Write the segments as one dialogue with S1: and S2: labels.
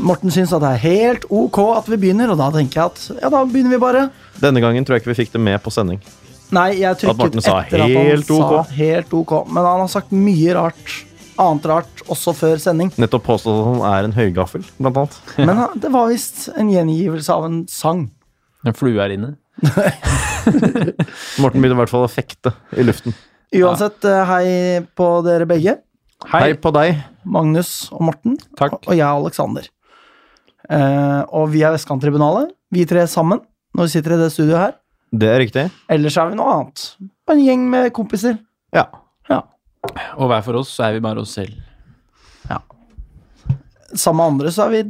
S1: Morten syns at det er helt ok at vi begynner, og da tenker jeg at ja, da begynner vi bare.
S2: Denne gangen tror jeg ikke vi fikk det med på sending.
S1: Nei, jeg
S2: At Morten
S1: trykket etter
S2: sa
S1: at han
S2: helt ok.
S1: sa helt ok. Men han har sagt mye rart. Annet rart også før sending.
S2: Nettopp påstått at han er en høygaffel, blant annet.
S1: Men han- det var visst en gjengivelse av en sang.
S3: En flue her inne.
S2: Morten begynner i hvert fall å fekte i luften.
S1: Uansett, eh, hei på dere begge.
S2: Hei, på deg.
S1: Magnus og Morten.
S3: Takk.
S1: Og jeg og Aleksander. Eh, og vi er Vestkanttribunalet, vi tre sammen, når vi sitter i det studioet her.
S2: Det er riktig.
S1: Ellers er vi noe annet. Bare en gjeng med kompiser.
S2: Ja.
S1: Ja.
S3: Og hver for oss så er vi bare oss selv.
S1: Sammen med andre så er vi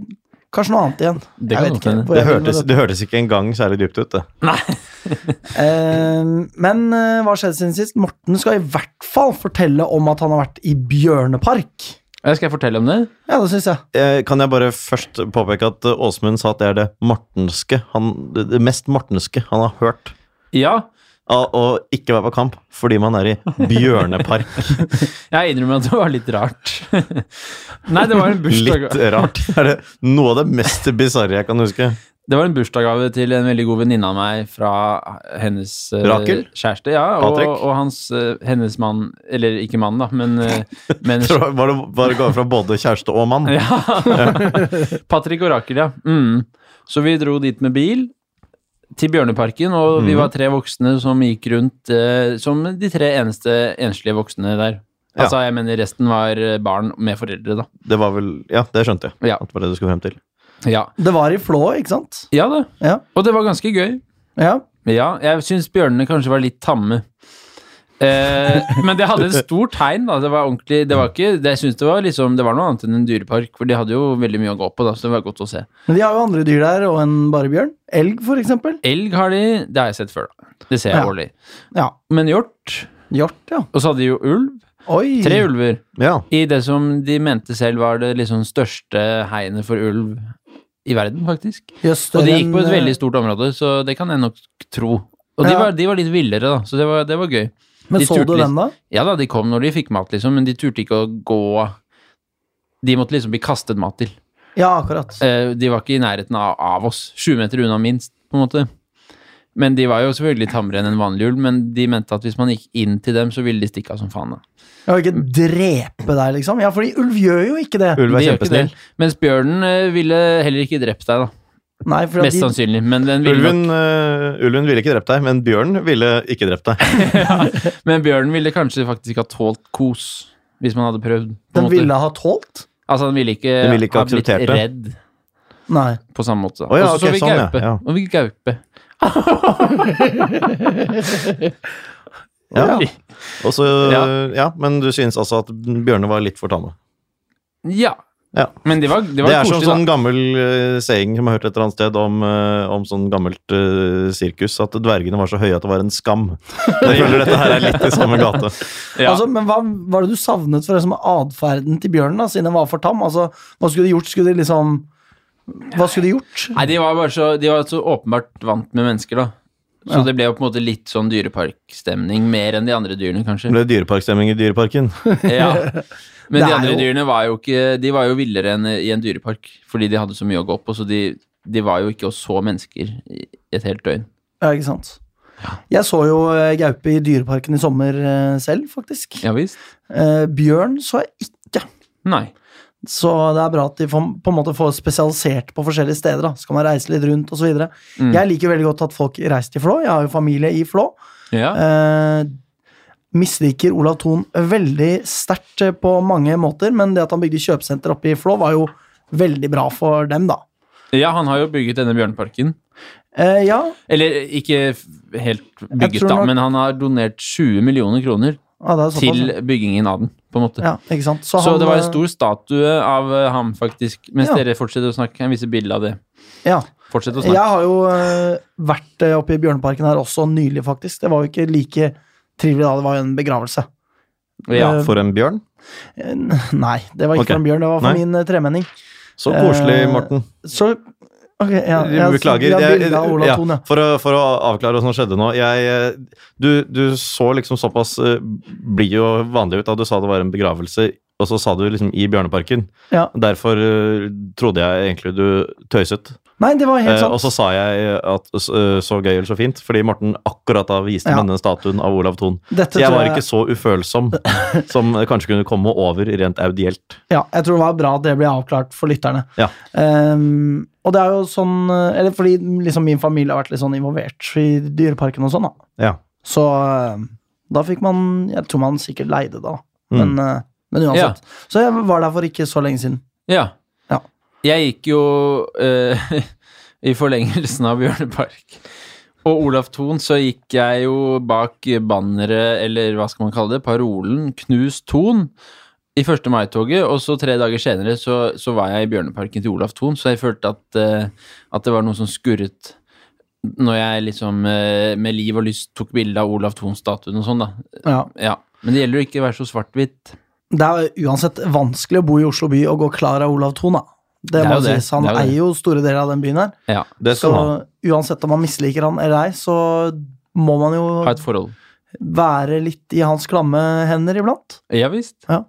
S1: kanskje noe annet igjen.
S3: Det
S1: Jeg vet
S3: kan godt hende.
S1: ikke hvor
S2: Det
S1: jeg vil med
S2: hørtes,
S1: dette.
S2: det hørtes ikke engang særlig dypt ut, det.
S1: Eh, men eh, hva skjedde siden sist? Morten skal i hvert fall fortelle om at han har vært i Bjørnepark.
S3: Eh, Skal jeg fortelle om det?
S1: Ja, det syns jeg.
S2: Eh, Kan jeg bare først påpeke at eh, Åsmund sa at det er det mortenske han, det det mest mortenske han har hørt
S3: Ja.
S2: av å ikke være på kamp fordi man er i bjørnepark.
S3: Jeg innrømmer at det var litt rart. Nei, det var en bursdag.
S2: Litt eh. rart. Det er det noe av det mest bisarre jeg kan huske.
S3: Det var en bursdagsgave til en veldig god venninne av meg fra hennes eh,
S2: Rakel?
S3: kjæreste. Ja, og,
S2: Patrick?
S3: og hans, eh, hennes mann Eller ikke mann, da, men, eh, men
S2: Så Var det bare gave fra både kjæreste og mann?
S3: Ja. Patrick og Rakel, ja. Mm. Så vi dro dit med bil til Bjørneparken, og vi var tre voksne som gikk rundt eh, som de tre eneste enslige voksne der.
S2: Ja.
S3: Altså, jeg mener resten var eh, barn med foreldre, da.
S2: Det var vel, ja, det skjønte jeg.
S3: Ja.
S2: At det var det du skulle frem til.
S3: Ja,
S1: Det var i Flå, ikke sant?
S3: ja da.
S1: Ja.
S3: Og det var ganske gøy.
S1: ja.
S3: Ja, jeg syns bjørnene kanskje var litt tamme. Eh, men det hadde et stort tegn, da. Det var ordentlig Det var ikke det, Jeg synes det var liksom Det var noe annet enn en dyrepark, for de hadde jo veldig mye å gå på, da, så det var godt å se.
S1: Men de har jo andre dyr der, og en bare bjørn. Elg, for eksempel.
S3: Elg har de, det har jeg sett før, da. Det ser jeg
S1: Ja.
S3: årlig.
S1: Ja.
S3: Men hjort.
S1: Hjort, ja.
S3: Og så hadde de jo ulv.
S1: Oi.
S3: Tre ulver.
S2: Ja.
S3: I det som de mente selv var det liksom største hegnet for ulv i verden, faktisk.
S1: Jøss,
S3: Og
S1: større
S3: de gikk på
S1: enn,
S3: et veldig
S1: eh,
S3: stort område, så det kan jeg nok tro. Og de,
S1: Ja.
S3: var, de var litt villere, da, så det var, det var gøy.
S1: eh, Men
S3: de
S1: så
S3: turte
S1: du
S3: litt.
S1: den, da?
S3: Ja da, de kom når de fikk mat, liksom, men de turte ikke å gå De måtte liksom bli kastet mat til.
S1: Ja, akkurat.
S3: Eh, De var ikke i nærheten av, av oss. 20 meter unna minst, på en måte. Men de var jo selvfølgelig tammere enn en vanlig ulv, men de mente at hvis man gikk inn til dem, så ville de stikke av som faen. da.
S1: Jeg vil
S3: mm.
S1: ikke drepe deg, liksom. Ja, fordi ulv gjør jo ikke det.
S2: Ulv
S3: De
S2: er
S3: gjør ikke
S2: kjempesnill.
S3: det. Mens bjørnen eh, ville heller ikke drept deg, da.
S1: Nei, for at
S3: Mest
S1: de,
S3: sannsynlig. Men, den ville
S2: Ulven, eh, ulven ville ikke drept deg, men bjørnen ville ikke drept deg.
S3: nok, men bjørnen ville kanskje faktisk ikke ha tålt kos, hvis man hadde prøvd. på en
S1: den
S3: måte.
S1: ville ha tålt?
S3: Altså, den ville ikke,
S2: Den ville ikke
S3: ha blitt
S2: akseptert det.
S3: redd
S1: Nei.
S3: på samme måte.
S2: Å ja,
S3: og så så
S2: ok,
S3: vi
S2: sånn, ja,
S3: gaupe.
S2: ja.
S3: Og vi gaupe.
S2: Ja. Og så,
S3: Ja.
S2: ja, men du synes altså at bjørnene var litt for tamme.
S3: Ja.
S2: Ja.
S3: Men det var, det
S2: Det,
S3: var
S2: er som
S3: koselig,
S2: sånn gammel eh, saying som jeg har hørt et eller annet sted om, eh, om sånn gammelt eh, sirkus, at dvergene var så høye at det var en skam. Jeg føler dette her er litt i samme gate.
S3: da. Ja.
S1: Altså, men hva var det du savnet for det som atferden til bjørnen, da, siden den var for tam? Altså, hva skulle de gjort? Skulle de liksom Hva skulle de gjort?
S3: Nei, de var, bare så, de var så åpenbart vant med mennesker, da. Så
S1: Ja.
S3: det ble jo på en måte litt sånn dyreparkstemning, mer enn de andre dyrene, kanskje.
S2: Det ble dyreparkstemning i Dyreparken.
S3: Ja. Men
S1: Det
S3: de
S1: er
S3: andre
S1: jo-
S3: dyrene var jo ikke De var jo villere enn i en dyrepark, fordi de hadde så mye å gå på, så de, de var jo ikke og så mennesker i et helt døgn.
S1: Ja, ikke sant? Jeg så jo eh, gaupe i Dyreparken i sommer eh, selv, faktisk.
S3: Ja visst.
S1: Eh, bjørn så jeg ikke.
S3: Nei.
S1: Så det er bra at de får, på en måte får spesialisert på forskjellige steder. Da. Så kan man reise litt rundt osv. videre
S3: Mm.
S1: Jeg liker veldig godt at folk reiser til Flå. Jeg har jo familie i Flå.
S3: Ja.
S1: Eh, misliker Olav Thon veldig sterkt eh, på mange måter, men det at han bygde kjøpesenter oppe i Flå, var jo veldig bra for dem, da.
S3: ja, han har jo bygget denne bjørneparken.
S1: Eh, ja,
S3: Eller ikke f- helt bygget,
S1: tror
S3: da,
S1: nok-
S3: men han har donert 20 millioner kroner
S1: ja, det er såpass.
S3: til byggingen av den, på en måte.
S1: ja, ikke sant?
S3: Så,
S1: han,
S3: det var en
S1: eh,
S3: stor statue av eh, ham, faktisk. Mens
S1: Ja.
S3: dere fortsetter å snakke, kan jeg vise bilde av det.
S1: ja.
S3: Fortsett å
S1: Jeg
S3: snakke.
S1: har jo eh, vært eh, oppe i Bjørneparken her også nylig, faktisk. Det var jo ikke like trivelig da, det var jo en begravelse.
S3: Ja.
S1: Eh,
S2: For en bjørn.
S1: Eh, Nei, det var ikke
S2: Ok.
S1: for en bjørn, det var for
S2: Nei.
S1: min eh, tremenning.
S2: Så koselig,
S1: Eh,
S2: Morten.
S1: Så ok, ja, jeg-
S2: Beklager.
S1: Jeg,
S2: Jeg-
S1: bildet av Olav
S2: ja,
S1: Thon, ja.
S2: for, å, for å avklare hva som skjedde nå. Jeg, eh, du, du så liksom såpass eh, blid og vanlig ut da du sa det var en begravelse og så sa du liksom i Bjørneparken.
S1: Ja.
S2: Derfor eh, trodde jeg egentlig du tøyset.
S1: Nei, det var helt
S2: Eh, og
S1: sant.
S2: så sa jeg at eh, så gøy eller så fint, fordi Morten akkurat da viste
S1: Ja.
S2: meg denne statuen av Olav Thon.
S1: Dette
S2: Så jeg
S1: tror
S2: var ikke så ufølsom som det kanskje kunne komme over rent audielt.
S1: Ja, jeg tror det var bra at det ble avklart for lytterne.
S2: Ja.
S1: Ehm, og det er jo sånn eh, Eller fordi liksom min familie har vært litt sånn involvert i dyreparken og sånn, da.
S2: Ja.
S1: Så eh, da fikk man Jeg tror man sikkert leide det, da. Men,
S2: Mm.
S1: eh, men uansett. Så jeg var der for ikke så lenge siden.
S3: Ja.
S1: Ja.
S3: Jeg gikk jo eh, i forlengelsen av Bjørnepark. Og Olaf Thon, så gikk jeg jo bak banneret, eller hva skal man kalle det, parolen 'Knus Thon' i 1. mai-toget, og så tre dager senere så, så var jeg i Bjørneparken til Olaf Thon, så jeg følte at, eh, at det var noe som skurret når jeg liksom eh, med liv og lyst tok bilde av Olaf Thon-statuen og sånn, da.
S1: Ja.
S3: Ja. Men det gjelder jo ikke å være så svart-hvitt.
S1: Det er jo uansett vanskelig å bo i Oslo by og gå klar av Olav Thon, da. Det,
S3: Det er
S1: må
S3: jo det.
S1: sies. Han
S3: Det er jo det.
S1: eier jo store deler av den byen her.
S3: Ja.
S2: Det
S1: Så
S2: skal han ha.
S1: uansett om man misliker han eller ei, så må man jo
S3: Ha et forhold.
S1: være litt i hans klamme hender iblant.
S3: Ja visst.
S1: Eh,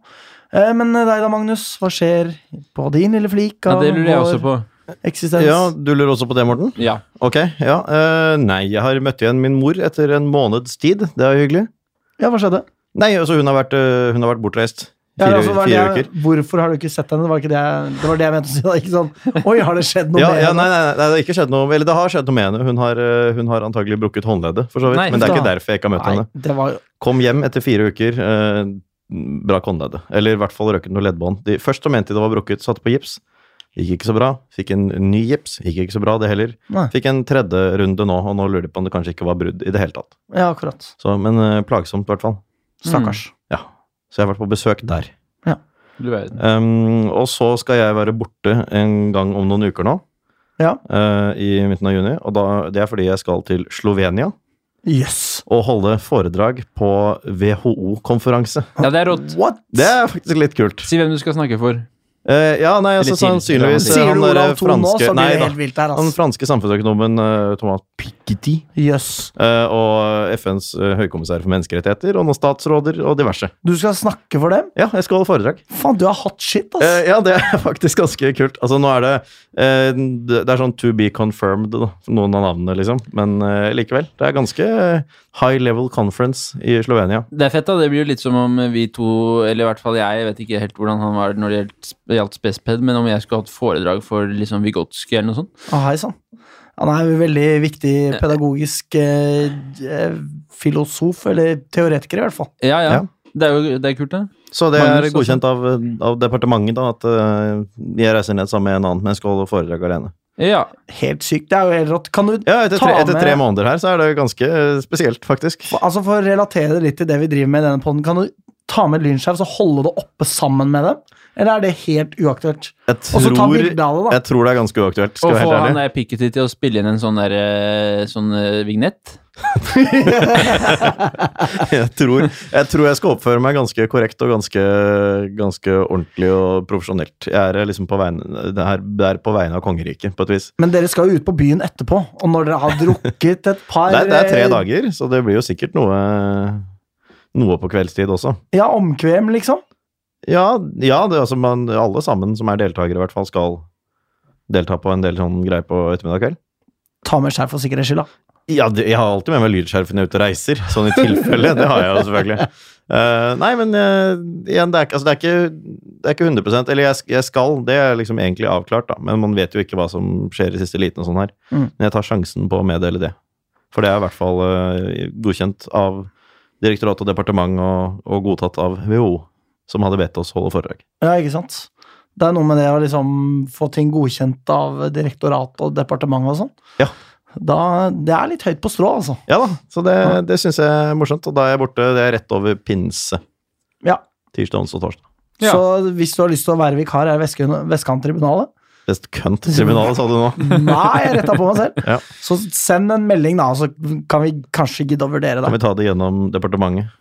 S1: Men deg da, Magnus, hva skjer på din lille flik
S3: Ja,
S1: av
S3: det lurer jeg også
S1: vår
S3: på.
S1: eksistens?
S2: Ja, du lurer også på det, Morten?
S3: Ja.
S2: Ok, ja. eh, nei, jeg har møtt igjen min mor etter en måneds tid. Det er jo hyggelig.
S1: Ja, hva skjedde?
S2: Nei, altså hun har vært, eh, hun har vært bortreist.
S1: Ja,
S2: Fire,
S1: altså, hva er
S2: fire
S1: det
S2: uker.
S1: jeg, hvorfor har du ikke sett henne? Det var, ikke det, jeg, det var det jeg mente å si. da, Ikke sånn Oi, har det skjedd noe
S2: Ja,
S1: med
S2: ja, nei,
S1: henne?
S2: nei, nei, det, har ikke skjedd noe, eller det har skjedd noe med henne. Hun har, eh, hun har antagelig brukket håndleddet, for så vidt.
S3: Nei,
S2: men det er
S1: da.
S2: ikke derfor jeg ikke har møtt henne.
S1: det var jo
S2: Kom hjem etter fire uker, eh, brakk håndleddet. Eller i hvert fall røket noe leddbånd. De, først så mente de det var brukket, satte på gips. Gikk ikke så bra. Fikk en ny gips. Gikk ikke så bra, det heller.
S1: Nei.
S2: Fikk en tredje runde nå, og nå lurer de på om det kanskje ikke var brudd i det hele tatt.
S1: Ja, akkurat.
S2: Så, men eh, plagsomt, i hvert fall.
S1: Stakkars.
S3: Mm.
S2: Ja. Så jeg har vært på besøk der.
S3: Du verden.
S2: Um, og så skal jeg være borte en gang om noen uker nå.
S1: Ja.
S2: eh, I midten av juni. Og da, det er fordi jeg skal til Slovenia
S1: Jøss.
S2: og holde foredrag på WHO-konferanse.
S3: Ja, det er rått.
S1: What?
S2: Det er faktisk litt kult.
S3: Si hvem du skal snakke for.
S2: Eh, ja, nei, altså
S3: Eller til-
S2: sannsynligvis eh,
S1: Sier du
S2: han der
S1: Olav Thon nå,
S2: franske
S1: så
S2: Nei
S1: blir det
S2: da.
S1: helt vilt der,
S2: Han
S1: altså.
S2: franske samfunnsøkonomen eh, Thomas Piketty.
S1: Jøss.
S2: eh, og FNs eh, høykommissær for menneskerettigheter og noen statsråder og diverse.
S1: Du skal snakke for dem?
S2: Ja, jeg skal holde foredrag.
S1: Faen, du har hatt shit, ass.
S2: Eh, ja, det er faktisk ganske kult. Altså, nå er det eh, Det det er sånn to be confirmed, da, noen av navnene, liksom. Men eh, likevel. Det er ganske eh, high level conference i Slovenia.
S3: Det er fett, da. Det blir jo litt som om vi to, eller i hvert fall jeg, jeg vet ikke helt hvordan han var når det gjaldt- gjaldt Spesped, men om jeg skulle hatt foredrag for liksom Vigotskij eller noe sånt.
S1: Å, Ah, Hei sann. Han er jo en veldig viktig pedagogisk eh, eh, filosof, eller teoretiker i hvert fall.
S3: Ja, ja.
S2: Ja.
S3: Det er jo det er kult, det.
S2: Så det
S3: Magnus
S2: er
S3: også.
S2: godkjent av, av departementet, da, at eh, jeg reiser ned sammen med en annen, men skal holde foredrag alene.
S3: Ja.
S1: Helt sykt. Det er jo helt rått. Kan du
S2: Ja, etter tre,
S1: Ta
S2: etter
S1: med-
S2: tre måneder her, så er det ganske eh, spesielt, faktisk.
S1: Altså For å relatere det litt til det vi driver med i denne podden, kan du ta med lynsjhaus og holde det oppe sammen med dem? Eller er det helt uaktuelt?
S2: Jeg
S1: Og så ta
S2: tror,
S1: bilde av det, da.
S2: jeg tror det er ganske uaktuelt, skal
S3: Og
S2: jeg
S3: få
S2: være helt
S3: han
S2: ærlig.
S3: der Piketty til å spille inn en sånn der eh, sånn eh, vignett.
S2: Jeg tror, jeg tror jeg skal oppføre meg ganske korrekt og ganske, ganske ordentlig og profesjonelt. Jeg er liksom på vegne, det er, det er på vegne av kongeriket, på et vis.
S1: Men dere skal jo ut på byen etterpå, og når dere har drukket et par
S2: Det er, det er tre
S1: eh,
S2: dager, så det blir jo sikkert noe, noe på kveldstid også.
S1: Ja, omkvem, liksom.
S2: Ja, ja det, er altså man, alle sammen som er deltakere, i hvert fall skal delta på en del sånn greier på ettermiddag kveld.
S1: Ta med skjerf for sikkerhets skyld, da.
S2: Ja, det, jeg har alltid med meg lydskjerfene ut og reiser, sånn i tilfelle. det har jeg jo selvfølgelig. Eh, nei, men eh, igjen, det er, ikke- altså, det, er ikke, det er ikke 100 Eller jeg, sk- jeg skal, det er liksom egentlig avklart, da. Men man vet jo ikke hva som skjer i siste liten og sånn her.
S1: Mm.
S2: Men jeg tar sjansen på å meddele det. For det er i hvert fall eh, godkjent av direktorat og departement og, og godtatt av WHO, som hadde bedt oss holde foredrag.
S1: Ja, ikke sant? Det er noe med det å liksom få ting godkjent av direktorat og departement og sånn.
S2: Ja.
S1: Da, det er litt høyt på strå, altså.
S2: Ja da, så det, det syns jeg er morsomt. Og da er jeg borte. Det er rett over pinse.
S1: Ja.
S2: Tirsdag, onsdag og torsdag.
S3: Ja.
S1: Så hvis du har lyst til å være vikar, er Vestkant- Vestkanttribunalet.
S2: Best kønt-tribunalet, sa du nå.
S1: Nei, jeg retta på meg selv.
S2: Ja.
S1: Så send en melding, da, så kan vi kanskje gidde å vurdere
S2: Kan
S1: det.
S2: vi ta det gjennom departementet?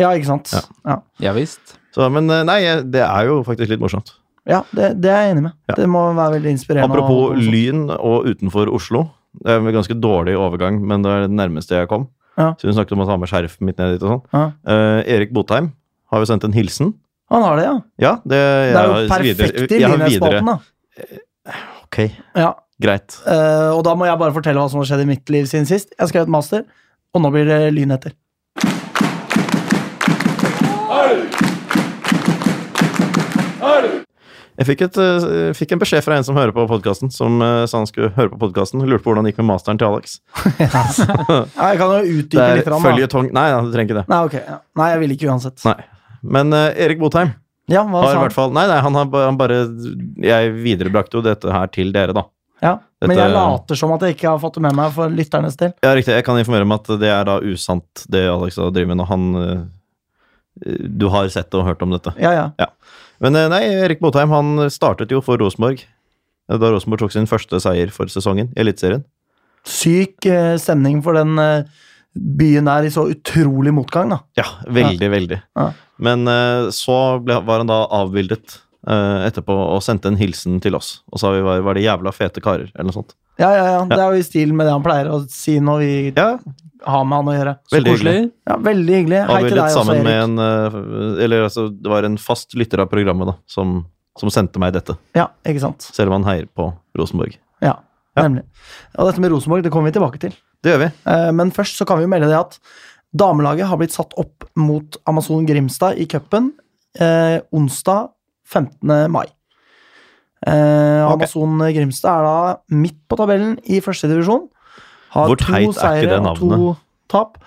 S1: Ja, ikke sant?
S2: Ja.
S1: Ja,
S3: Ja visst.
S2: Så, men eh, nei, jeg- det er jo faktisk litt morsomt.
S1: ja det, det er jeg enig med.
S2: Ja.
S1: Det må være veldig inspirerende.
S2: Apropos
S1: og-
S2: Lyn og utenfor Oslo. Det er en ganske dårlig overgang, men det er det nærmeste jeg kom.
S1: Ja.
S2: Så hun snakket om å ta med skjerfet mitt ned dit og sånn.
S1: Ja.
S2: Eh, Erik Botheim har jo sendt en hilsen
S1: Han har det, ja.
S2: Ja, det, jeg,
S1: Det er jo
S2: har
S1: perfekt i
S2: videre- jeg har videre-
S1: Linheim-spalten, da.
S2: Ok,
S1: Ja.
S2: greit.
S1: eh, og da må jeg bare fortelle hva som har skjedd i mitt liv siden sist. Jeg har skrevet master, og nå blir det lyn etter.
S2: Jeg fikk, et, eh, fikk en beskjed fra en som hører på podkasten, som eh, sa han skulle høre på podkasten. Lurte på hvordan det gikk med masteren til Alex.
S1: Ja, jeg kan jo
S2: Det
S1: utdype
S2: er
S1: litt. Rann, da.
S2: føljetong Nei, ja, du trenger ikke det.
S1: Nei, ok. Ja. Nei, jeg ville ikke uansett.
S2: Nei. Men eh, Erik Botheim
S1: Ja, hva
S2: har i
S1: sa
S2: hvert
S1: han?
S2: fall Nei, nei, han har ba- han bare Jeg viderebrakte jo dette her til dere, da.
S1: Ja. Men jeg
S2: Dette-
S1: later som at jeg ikke har fått det med meg for lytternes del.
S2: Ja, riktig. Jeg kan informere om at det er da usant, det Alex da driver med når han eh, Du har sett og hørt om dette.
S1: Ja, ja.
S2: Men eh, nei, Erik Botheim han startet jo for Rosenborg. eh, Da Rosenborg tok sin første seier for sesongen i Eliteserien.
S1: Syk eh, stemning for den eh, byen der i så utrolig motgang, da.
S2: Ja, veldig, veldig.
S1: Ja.
S2: Men eh, så ble, var han da avbildet eh, etterpå og sendte en hilsen til oss. Og sa vi var, var det jævla fete karer, eller noe sånt.
S1: Ja, ja, ja. Det er jo i stil med det han pleier å si når vi
S2: Ja,
S1: har med han å gjøre.
S3: Så
S2: veldig
S3: koselig.
S1: Ja, Veldig hyggelig. Hei til
S2: Avbildet
S1: deg også,
S2: sammen
S1: Erik.
S2: med en eh, Eller altså, det var en fast lytter av programmet da, som, som sendte meg dette.
S1: Ja, ikke sant.
S2: Selv om han heier på Rosenborg.
S1: Ja,
S2: Ja.
S1: nemlig. Og dette med Rosenborg, det kommer vi tilbake til.
S2: Det gjør vi.
S1: Eh, Men først så kan vi jo melde det at damelaget har blitt satt opp mot Amazon Grimstad i cupen eh, onsdag 15. mai. Eh,
S2: Ok.
S1: Amazon Grimstad er da midt på tabellen i første divisjon. Har
S2: Hvor teit er
S1: to
S2: ikke
S1: seire
S2: det
S1: og to tap.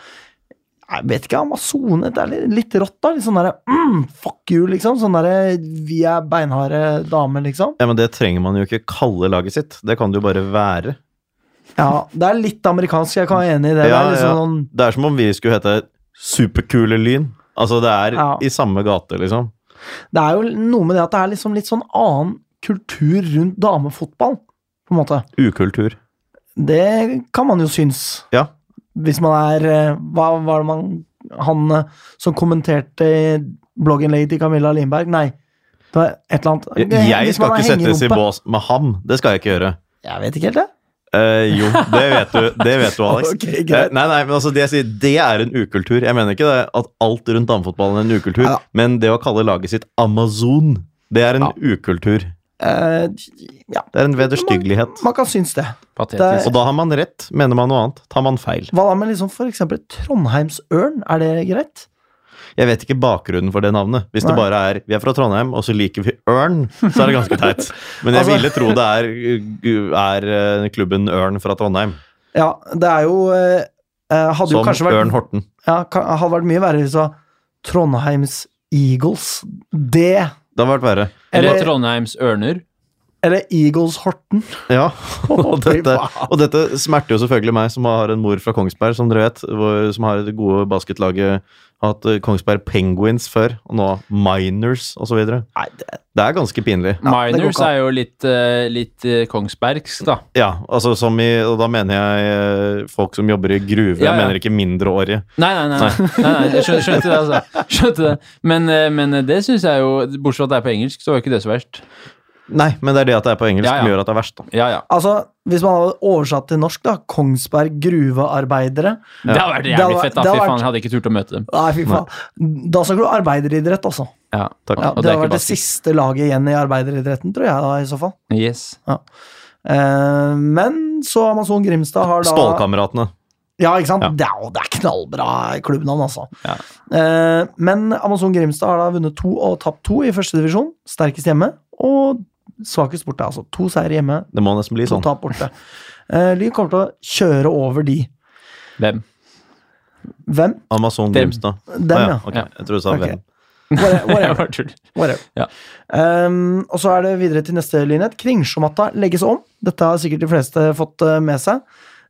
S1: Jeg vet ikke, Amazone Det er litt- litt rått, da. Litt sånn derre mm, fuck you, liksom. Sånn derre vi er beinharde damer, liksom.
S2: Ja, Men det trenger man jo ikke kalle laget sitt. Det kan det jo bare være.
S1: Ja, det er litt amerikansk, jeg kan være enig i det. det
S2: Ja,
S1: er
S2: ja.
S1: liksom sånn
S2: Det er som om vi skulle hete Superkule Lyn. Altså, det er
S1: Ja.
S2: i samme gate, liksom.
S1: Det er jo noe med det at det er liksom litt sånn annen kultur rundt damefotball, på en måte.
S2: Ukultur.
S1: Det kan man jo synes.
S2: Ja.
S1: Hvis man er eh, Hva var det man Han eh, som kommenterte i blogginnlegget til Camilla Lindberg? Nei, det var et eller annet.
S2: Jeg, jeg
S1: Hvis man
S2: skal
S1: er
S2: ikke settes i
S1: hengerumpe.
S2: bås med ham. Det skal jeg ikke gjøre.
S1: Jeg vet ikke helt det.
S2: Eh, jo, det vet du, det vet du Alex.
S1: Ok, greit.
S2: Eh, nei, nei, men altså Det jeg sier, det er en ukultur. Jeg mener ikke det, at alt rundt damefotballen er en ukultur,
S1: Ja.
S2: men det å kalle laget sitt Amazon, det er en
S1: Ja.
S2: ukultur.
S1: Eh, ja,
S2: Det er en vederstyggelighet.
S1: man kan synes det.
S3: Patetisk.
S2: Og da har man rett, mener man noe annet. Tar man feil.
S1: Hva da med liksom for eksempel Trondheimsørn? Er det greit?
S2: Jeg vet ikke bakgrunnen for det navnet. Hvis
S1: Nei.
S2: det bare er 'vi er fra Trondheim, og så liker vi Ørn', så er det ganske teit. Men jeg
S1: Altså-
S2: ville tro det er, er eh, klubben Ørn fra Trondheim.
S1: Ja, det er jo eh, eh, Hadde jo
S2: Som
S1: kanskje vært
S2: Ørn Horten.
S1: Ja, ka- hadde vært mye verre hvis det var Trondheims Eagles. Det!
S2: Det hadde vært verre.
S3: Eller
S1: Eller-
S3: Trondheims Ørner.
S1: Eller Eagles Horten.
S2: Ja, og
S1: Fy
S2: dette,
S1: faen.
S2: og dette smerter jo selvfølgelig meg, som har en mor fra Kongsberg, som dere vet, hvor, som har det gode basketlaget har hatt eh, Kongsberg Penguins før, og nå Miners osv. Det
S1: Nei, det,
S2: er ganske pinlig.
S1: Ja, det går
S3: Miners
S1: ikke an.
S3: er jo litt, eh, litt eh, kongsbergsk, da.
S2: Ja, altså som i, og da mener jeg eh, folk som jobber i gruver,
S3: Ja, ja.
S2: jeg mener ikke mindreårige.
S3: Nei, nei, nei. nei. nei, nei. Jeg skjønte, skjønte det, altså. Skjønte det. Men, eh, men det syns jeg jo Bortsett fra at det er på engelsk, så var jo ikke det så verst.
S2: Nei, men det er det at det er på engelsk
S3: Ja, ja.
S2: som gjør at det er verst, da.
S3: Ja, ja.
S1: altså, hvis man hadde oversatt til norsk, da. Kongsberg gruvearbeidere.
S3: Det hadde vært
S1: Det
S3: jævlig
S1: hadde-
S3: fett, da.
S1: det
S3: Fy
S1: hadde vært-
S3: faen, jeg hadde ikke turt å møte dem.
S1: Nei, fy faen. Da snakker du arbeideridrett, altså.
S3: Ja,
S2: Takk.
S1: Ja,
S3: Og
S1: det,
S3: det er
S1: har
S3: ikke
S1: vært det
S3: basket.
S1: siste laget igjen i arbeideridretten, tror jeg, da, i så fall.
S3: Yes.
S1: Eh, men så Amazon Grimstad har da
S2: Stålkameratene.
S1: Ja, ikke sant?
S2: Ja.
S1: Det, er, jo- det er knallbra klubbnavn, altså.
S3: Ja.
S1: Eh, men Amazon Grimstad har da vunnet to og tapt to i første divisjon. Sterkest hjemme og svakest borte. Altså to seier hjemme,
S2: Det må nesten bli
S1: to
S2: sånn.
S1: tap borte. Uh, Lyn kommer til å kjøre over de.
S3: Hvem?
S1: Hvem?
S2: Amazon
S3: Dem.
S2: Grimstad.
S1: Dem,
S2: Å,
S1: ja.
S2: ok.
S3: Ja.
S2: Jeg tror du sa
S1: Ok. Eh,
S2: hvem.
S1: Whatever.
S3: Jeg
S1: whatever,
S3: bare tuller.
S1: whatever.
S3: Ja.
S1: Ehm, og så er det videre til neste lynhet. Kringsjåmatta legges om. Dette har sikkert de fleste fått eh, med seg.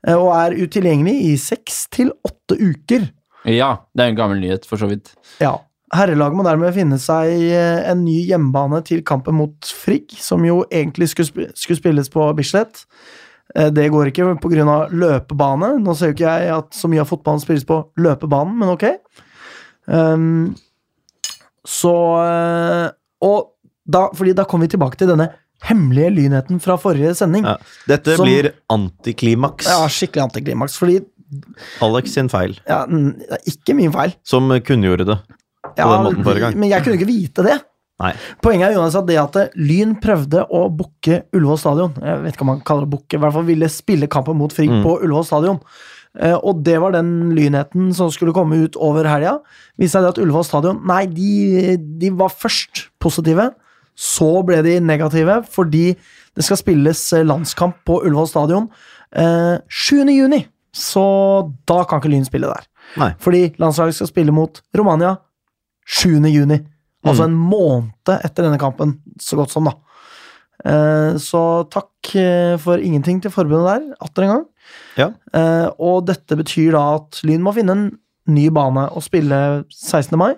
S1: eh, Og er utilgjengelig i seks til åtte uker.
S3: Ja, det er jo en gammel nyhet, for så vidt.
S1: Ja. Herrelaget må dermed finne seg eh, en ny hjemmebane til kampen mot Frigg, som jo egentlig skulle, sp skulle spilles på Bislett. Eh, Det går ikke pga. løpebane. Nå ser jo ikke jeg at så mye av fotballen spilles på løpebanen, men ok. Ehm, så eh, Og da, fordi da kommer vi tilbake til denne hemmelige lynheten fra forrige sending.
S2: Ja. Dette
S1: Som-
S2: blir antiklimaks.
S1: Ja, skikkelig antiklimaks. Fordi
S2: Alex sin feil,
S1: ja, n- det er ikke min feil.
S2: som kunngjorde det. på den måten forrige gang.
S1: Men jeg kunne ikke vite det.
S2: Nei.
S1: Poenget er Jonas, at det at Lyn prøvde å booke Ullevål stadion Jeg vet ikke om man kaller det booke, i hvert fall ville spille kampen mot Frigg
S2: Mm.
S1: på Ullevål stadion. Eh, og det var den lynheten som skulle komme ut over helga. Viste seg det at Ullevål stadion Nei, de, de var først positive. Så ble de negative fordi det skal spilles eh, landskamp på Ullevål stadion eh, 7. juni. Så da kan ikke Lyn spille der.
S2: Nei.
S1: Fordi landslaget skal spille mot Romania 7. juni. Altså
S2: Mm.
S1: en måned etter denne kampen, så godt som, da. Eh, Så takk eh, for ingenting til forbundet der, atter en gang.
S2: Ja.
S1: Eh, Og dette betyr da at Lyn må finne en ny bane å spille 16. mai.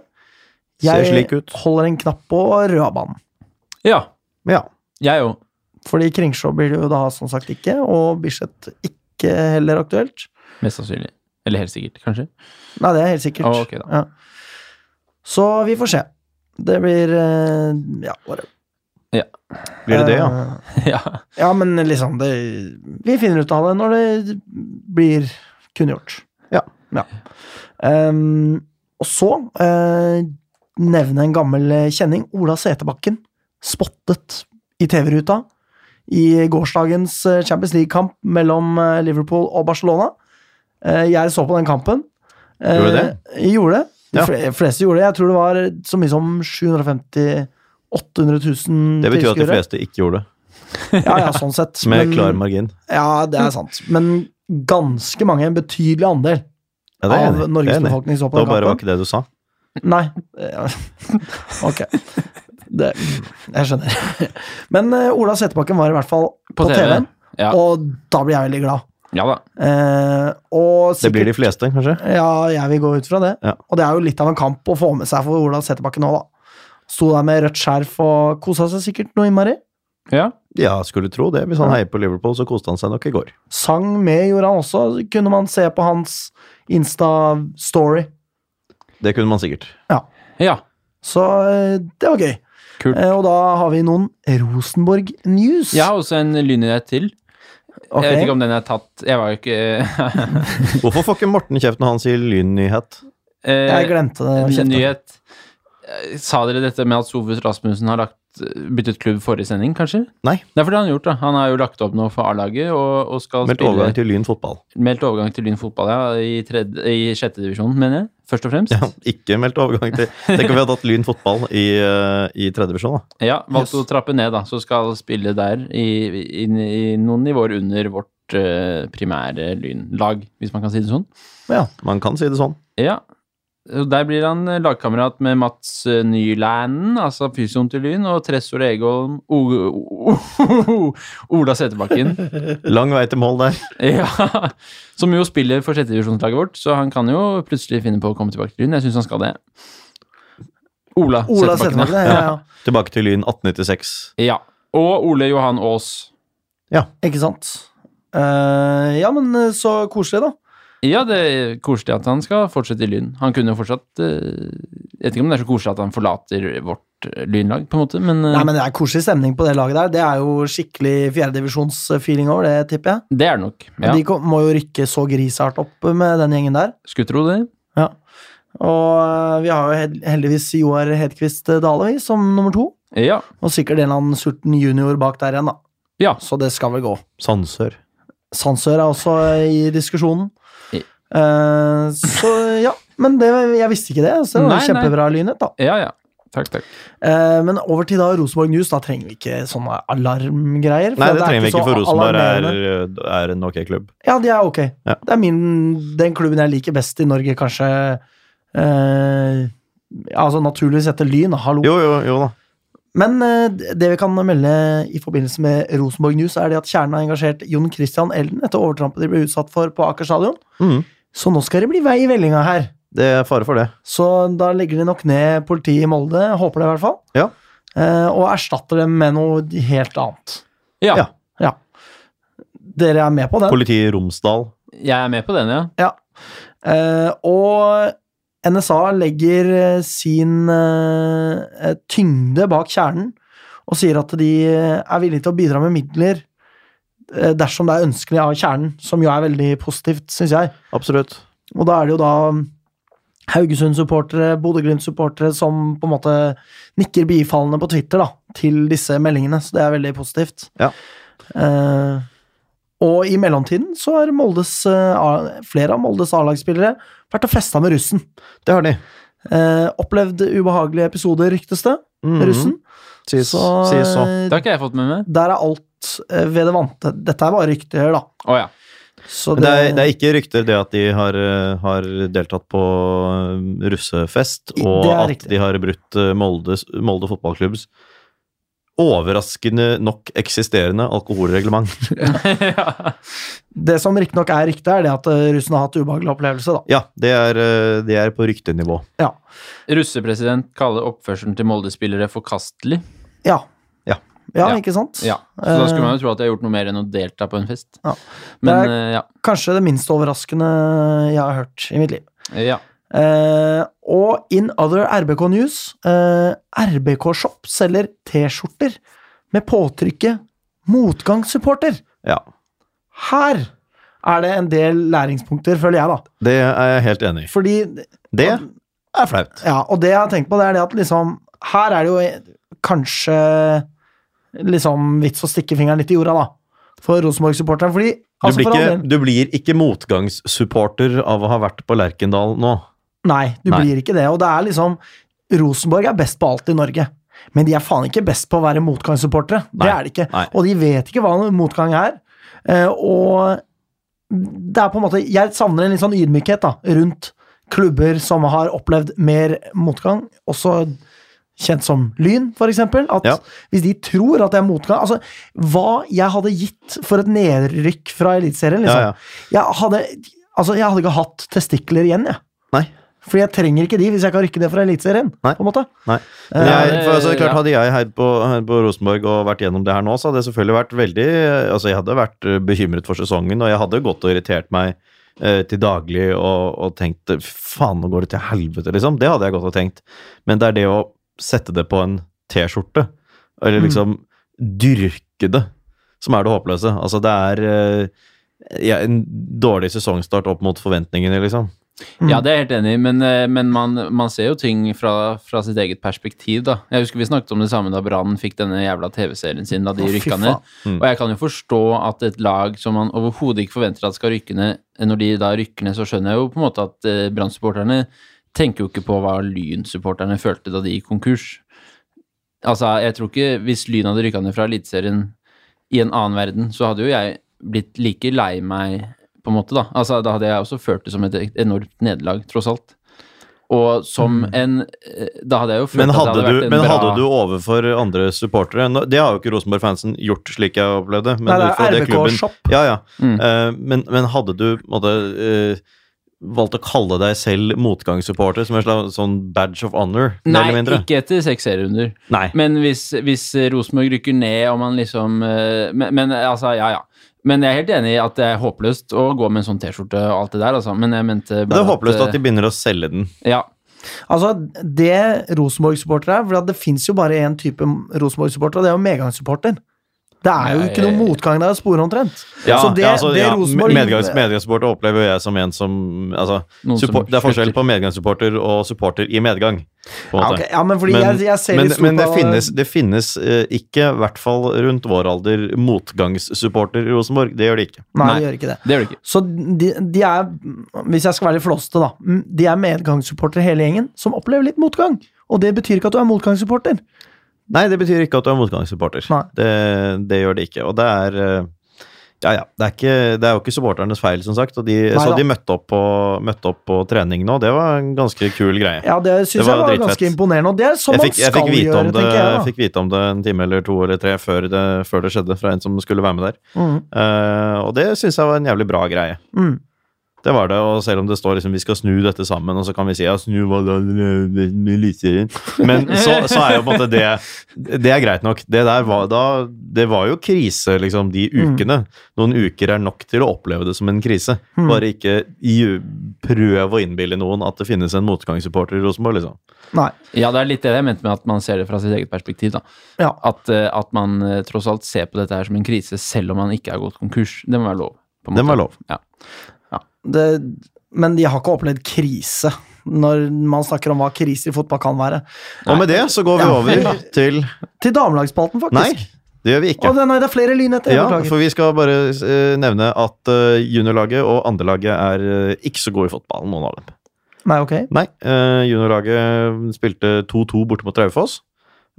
S2: Ser slik ut.
S1: holder en knapp på Røabanen.
S3: Ja,
S2: Ja.
S3: jeg òg.
S1: Fordi Kringsjå blir det jo da som sagt ikke, og Bislett ikke heller aktuelt.
S3: Mest sannsynlig. Eller helt sikkert, kanskje.
S1: Nei, det er helt sikkert.
S2: Ah,
S3: Å, ok da.
S1: Ja. Så vi får se. Det blir eh, Ja, bare
S2: Blir det det, ja?
S1: Eh,
S3: ja.
S1: Ja, men liksom det, Vi finner ut av det når det blir kunngjort.
S2: Ja.
S1: Ehm, og så eh, nevne en gammel kjenning. Ola Setebakken spottet i TV-ruta i gårsdagens eh, Champions League-kamp mellom eh, Liverpool og Barcelona. Eh, Jeg så på den kampen. Eh,
S2: Gjorde du det?
S1: Jeg gjorde det. De
S2: Ja.
S1: fle- fleste gjorde det. Jeg tror det var så mye som 750 800 000
S2: Det betyr at de
S1: tilskuere.
S2: fleste ikke gjorde det.
S1: Ja, ja, sånn sett.
S2: Med
S1: Men-
S2: klar margin.
S1: ja, det
S2: Mm.
S1: er sant. Men ganske mange, en betydelig andel
S2: Ja, det er jeg
S1: av
S2: enig i. Det er
S1: Norges
S2: jeg enig i.
S1: befolkning så på
S2: Da
S1: den
S2: bare var
S1: kampen.
S2: ikke det du sa.
S1: Nei. Eh, Ok. Det, jeg skjønner. Men eh, Ola Settebakken var i hvert fall på,
S3: TV.
S1: TV-en,
S3: Ja.
S1: og da blir jeg veldig glad.
S3: ja da.
S1: Eh, og
S2: Det
S1: sikkert
S2: blir de fleste, kanskje.
S1: Ja, jeg vil gå ut fra det.
S2: Ja.
S1: Og det er jo litt av en kamp å få med seg for Ola Settebakken nå, da. Sto der med rødt skjerf og kosa seg sikkert noe innmari.
S3: Ja.
S2: Ja, skulle tro det. Hvis han heier på Liverpool, så koste han seg nok i går.
S1: Sang med gjorde han også, kunne man se på hans Insta-story.
S2: Det kunne man sikkert.
S3: ja.
S1: Så eh, det var gøy.
S3: Kult.
S1: Eh, Og da har vi noen Rosenborg News.
S3: Jeg har også en lynnyhet til.
S1: Ok.
S3: Jeg vet ikke om den er tatt Jeg var jo ikke
S2: Hvorfor får ikke Morten kjeft når han sier lynnyhet?
S1: Jeg
S3: eh,
S1: glemte det.
S3: En
S1: Kjetil.
S3: nyhet. Eh, Sa dere dette med at Sofus Rasmussen har lagt, eh, byttet klubb forrige sending, kanskje?
S2: Nei.
S3: Det er fordi han har gjort det. Han har jo lagt opp nå for A-laget og, og skal
S2: Meldt
S3: spille
S2: overgang til Lyn fotball.
S3: Meldt overgang til Lyn fotball, ja. I, tredje, i sjette divisjon, mener jeg. Først og fremst.
S2: Ja, ikke meldt overgang til Tenk om vi hadde hatt Lyn fotball i, eh, i tredje divisjon, da.
S3: Ja, valgte
S1: Yes.
S3: å trappe ned, da. Så skal spille der i, i, i noen nivåer under vårt eh, primære lynlag, hvis man kan si det sånn.
S1: Ja.
S2: Man kan si det sånn.
S3: Ja. Og Der blir han eh, lagkamerat med Mats eh, Nylanden, altså fysioen til Lyn, og Tressor Egholm O- O- Ola Seterbakken.
S2: Lang vei til mål der.
S3: Ja. Som jo spiller for sjettedivisjonslaget vårt, så han kan jo plutselig finne på å komme tilbake til Lyn. Jeg syns han skal det. Ola,
S1: Ola
S3: Seterbakken.
S1: Settebakken, ja, ja.
S2: Tilbake til Lyn 1896.
S3: Ja. Og Ole Johan Aas.
S1: Ikke sant. Eh, ja, men eh, så koselig, da.
S3: Ja, det er koselig at han skal fortsette i Lyn. Han kunne jo fortsatt eh, Jeg vet ikke om det er så koselig at han forlater vårt eh, lynlag, på en måte, men, eh,
S1: Nei, men Det er koselig stemning på det laget der. Det er jo skikkelig fjerdedivisjonsfeeling over det, tipper jeg.
S3: det er det nok.
S1: Men
S3: Ja.
S1: De kom- må jo rykke så grishardt opp med den gjengen der.
S3: Skulle tro det.
S1: Og eh, vi har jo hel- heldigvis Joar Hedquist eh, Dale vi, som nummer to.
S3: Ja.
S1: Og sikkert en eller annen sulten junior bak der igjen, da.
S3: Ja.
S1: Så det skal vel gå.
S2: Sandsør.
S1: Sandsør er også i diskusjonen.
S3: I-
S1: Eh, så ja, men det, jeg visste ikke det. Så det var
S3: Nei, nei.
S1: kjempebra lynhet, da.
S3: Ja, ja. Takk, takk.
S1: Eh, men over til da Rosenborg News. Da trenger vi ikke sånne alarmgreier. for
S2: Nei, det
S1: er
S2: trenger vi ikke,
S1: så
S2: for Rosenborg
S1: alarmerende.
S2: er, er en ok klubb.
S1: Ja, de er ok.
S2: Ja.
S1: Det er min, den klubben jeg liker best i Norge, kanskje. eh, altså naturligvis etter Lyn, hallo.
S2: Jo, jo, jo da.
S1: Men eh, det vi kan melde i forbindelse med Rosenborg News, er det at Kjernen har engasjert Jon Christian Elden etter overtrampet de ble utsatt for på Aker stadion.
S2: Mhm.
S1: Så nå skal det bli vei i vellinga her.
S2: Det er fare for det.
S1: Så da legger de nok ned politiet i Molde, håper det i hvert fall.
S2: Ja.
S1: Eh, og erstatter dem med noe helt annet.
S3: Ja,
S2: Ja.
S1: Dere er med på den.
S2: Politiet i Romsdal.
S3: jeg er med på den, ja.
S1: Eh, og NSA legger eh, sin eh, eh, tyngde bak kjernen og sier at de eh, er villige til å bidra med midler eh, dersom det er ønskelig av kjernen, som jo er veldig positivt, syns jeg.
S2: Absolutt.
S1: Og da er det jo da Haugesund-supportere, Bodø-Glimt-supportere som på en måte nikker bifallende på Twitter da, til disse meldingene, så det er veldig positivt.
S2: Ja.
S1: Eh, og i mellomtiden så har Moldes, eh, A- flere av Moldes A-lagsspillere vært og festa med russen.
S2: Det har de.
S1: Eh, opplevd ubehagelige episoder, ryktes det, med
S2: Mhm.
S1: russen.
S2: Sies så.
S1: Så,
S2: Sies så.
S1: eh,
S3: Det har ikke jeg fått med meg.
S1: der er alt eh, ved det vante. Dette er bare rykter, da.
S3: Å ja.
S1: Så
S2: Men Det er, det er ikke rykter det at de har, eh, har deltatt på eh, russefest,
S1: I-
S2: og
S1: det er
S2: at
S1: riktig.
S2: de har brutt eh, Molde, Molde fotballklubbs overraskende nok eksisterende alkoholreglement.
S3: ja.
S1: Det som riktignok er ryktet, er det at eh, russen har hatt ubehagelig opplevelse, da.
S2: Ja, det er, eh, det er på ryktenivå.
S3: Russepresident kaller oppførselen til Molde-spillere forkastelig.
S1: Ja.
S2: Ja.
S1: Ja,
S3: Ja.
S1: ikke sant?
S3: Ja, så da skulle man jo tro at de har gjort noe mer enn å delta på en fest.
S1: Ja.
S3: Men
S1: Det er-
S3: eh, ja.
S1: Kanskje det minst overraskende jeg har hørt i mitt liv.
S3: ja.
S1: Eh, og in other RBK news eh, RBK Shop selger T-skjorter med påtrykket 'motgangssupporter'.
S2: Ja,
S1: Her er det en del læringspunkter, føler jeg, da.
S2: det er jeg helt enig i.
S1: Fordi,
S2: Det er flaut.
S1: ja, Og det jeg har tenkt på, det er det at liksom Her er det jo kanskje liksom vits å stikke fingeren litt i jorda, da. For Rosenborg-supporteren. Fordi
S2: Du,
S1: altså,
S2: blir
S1: for all
S2: ikke,
S1: del-
S2: du blir ikke motgangssupporter av å ha vært på Lerkendal nå.
S1: Nei, du
S2: Nei.
S1: blir ikke det. Og det er liksom Rosenborg er best på alt i Norge. Men de er faen ikke best på å være motgangssupportere. Det
S2: Nei,
S1: er de ikke.
S2: nei.
S1: Og de vet ikke hva motgang er. Eh, og det er på en måte Jeg savner en litt sånn ydmykhet da, rundt klubber som har opplevd mer motgang. Også kjent som Lyn, for eksempel. At
S2: Ja.
S1: hvis de tror at det er motgang Altså, hva jeg hadde gitt for et nedrykk fra Eliteserien, liksom.
S2: Ja, ja.
S1: Jeg, hadde, altså, jeg hadde ikke hatt testikler igjen, jeg.
S2: Nei.
S1: Fordi jeg trenger ikke de hvis jeg kan rykke det fra Eliteserien.
S2: Nei.
S1: på en måte.
S2: Nei. Men
S1: Eh,
S2: jeg, for altså, det er klart,
S3: ja.
S2: hadde jeg heid på, heid på Rosenborg og vært gjennom det her nå, så hadde jeg selvfølgelig vært veldig Altså, jeg hadde vært eh, bekymret for sesongen, og jeg hadde gått og irritert meg eh, til daglig og, og tenkt faen, nå går det til helvete, liksom. Det hadde jeg gått og tenkt. Men det er det å sette det på en T-skjorte, eller
S1: Mm.
S2: liksom dyrke det, som er det håpløse. Altså, det er eh, ja, en dårlig sesongstart opp mot forventningene, liksom.
S1: Mm.
S3: ja, det er jeg helt enig i, men, eh, men man, man ser jo ting fra, fra sitt eget perspektiv, da. Jeg husker vi snakket om det samme da Brann fikk denne jævla TV-serien sin da
S1: Å,
S3: de
S1: fy
S3: rykka
S1: faen.
S3: ned.
S2: Mm.
S3: Og jeg kan jo forstå at et lag som man overhodet ikke forventer at skal rykke ned, når de da rykker ned, så skjønner jeg jo på en måte at eh, Brann-supporterne tenker jo ikke på hva Lyn-supporterne følte da de gikk konkurs. Altså, jeg tror ikke Hvis Lyn hadde rykka ned fra Eliteserien i en annen verden, så hadde jo jeg blitt like lei meg, på en måte, da. Altså, da hadde jeg også følt det som et enormt nederlag, tross alt. Og som en eh, Da hadde jeg jo følt
S2: Mm. Men
S3: at
S2: hadde,
S3: det hadde
S2: du,
S3: vært en
S2: men
S3: bra
S2: hadde du overfor andre supportere nå- Det har jo ikke Rosenborg-fansen gjort, slik jeg opplevde. Men
S1: Nei, det
S2: hvorfor
S1: er
S2: det klubben-
S1: RBK-shop.
S2: Ja, ja.
S3: Mm.
S2: Eh, men, men hadde du på en måte, eh, valgt å kalle deg selv motgangssupporter som en slags sånn badge of honor? mer
S3: Nei,
S2: eller mindre?
S3: ikke etter seks serierunder.
S2: Nei.
S3: Men hvis, hvis Rosenborg rykker ned og man liksom eh, men, men altså, ja, ja. Men jeg er helt enig i at det er håpløst å gå med en sånn T-skjorte og alt det der, altså. Men jeg mente eh,
S2: Det er håpløst
S1: eh,
S2: at de begynner å selge den.
S3: Ja.
S1: Altså, det Rosenborg-supportere er, for at det fins jo bare én type Rosenborg-supporter, og det er jo medgangssupporter. Det er jo
S3: Nei.
S1: ikke noe motgang der å spore, omtrent.
S2: Ja,
S1: Så det-
S2: ja, altså,
S1: det
S2: ja,
S1: Rosenborg-
S2: medgangs, medgangssupporter opplever jeg som en som altså,
S3: Noen som
S2: support, Det er forskjell
S3: slutter.
S2: på medgangssupporter og supporter i medgang. På en
S1: Ja,
S2: måte.
S1: ok, ja men fordi
S2: Men,
S1: jeg, jeg ser
S2: men,
S1: litt stort
S2: men det
S1: på-
S2: finnes, det finnes eh, ikke, i hvert fall rundt vår alder, motgangssupporter i Rosenborg. Det gjør det ikke.
S1: Nei,
S3: Nei.
S1: det gjør ikke det.
S3: Det gjør det ikke.
S1: Så de, de er, hvis jeg skal være litt flåste, da mm, De er medgangssupportere hele gjengen, som opplever litt motgang. Og det betyr ikke at du er motgangssupporter.
S2: Nei, det betyr ikke at du er motgangssupporter.
S1: Nei.
S2: Det, det gjør det ikke. Og det er eh, Ja, ja. Det er, ikke, det er jo ikke supporternes feil, som sagt. Og de,
S1: Nei
S2: så
S1: da.
S2: de møtte opp, på, møtte opp på trening nå. Det var en ganske kul greie.
S1: Ja, det syns
S2: Det
S1: jeg
S2: var
S1: var
S2: dritfett.
S1: ganske imponerende, og det er sånn
S2: Jeg
S1: man
S2: fikk, jeg,
S1: skal
S2: fikk vite
S1: gjøre,
S2: om det,
S1: tenker
S2: jeg
S1: jeg.
S2: fikk vite om det en time eller to eller tre før det, før det skjedde, fra en som skulle være med der.
S1: da. Mm,
S2: Eh, og det syns jeg var en jævlig bra greie.
S1: mm.
S2: Det var det, og selv om det står liksom, vi skal snu dette sammen, og så kan vi si ja, snu hva da med lysserien. Men så, så er jo på en måte det Det er greit nok. Det der var da Det var jo krise, liksom, de ukene. Noen uker er nok til å oppleve det som en krise.
S1: Mm.
S2: Bare ikke ju- prøv å innbille noen at det finnes en motgangssupporter i Rosenborg, liksom.
S1: Nei.
S3: Ja, det er litt det jeg mente med at man ser det fra sitt eget perspektiv, da.
S1: Ja.
S3: At, eh, at man eh, tross alt ser på dette her som en krise, selv om man ikke har gått konkurs. Det må være lov. på en
S2: Det
S3: måte.
S2: må være lov.
S3: Ja.
S1: det, men de har ikke opplevd krise. når man snakker om hva krise i fotball kan være.
S2: Og med det så går vi
S1: Ja.
S2: over til
S1: Til damelagsspalten, faktisk.
S2: Nei, det gjør vi
S1: Å,
S2: ikke.
S1: det- nei, det er flere lynheter.
S2: Ja,
S1: jeg beklager.
S2: for vi skal bare eh, nevne at eh, juniorlaget og andrelaget er eh, ikke så gode i fotballen, noen av dem.
S1: Nei, ok.
S2: Nei, eh, juniorlaget spilte 2-2 borte mot Raufoss.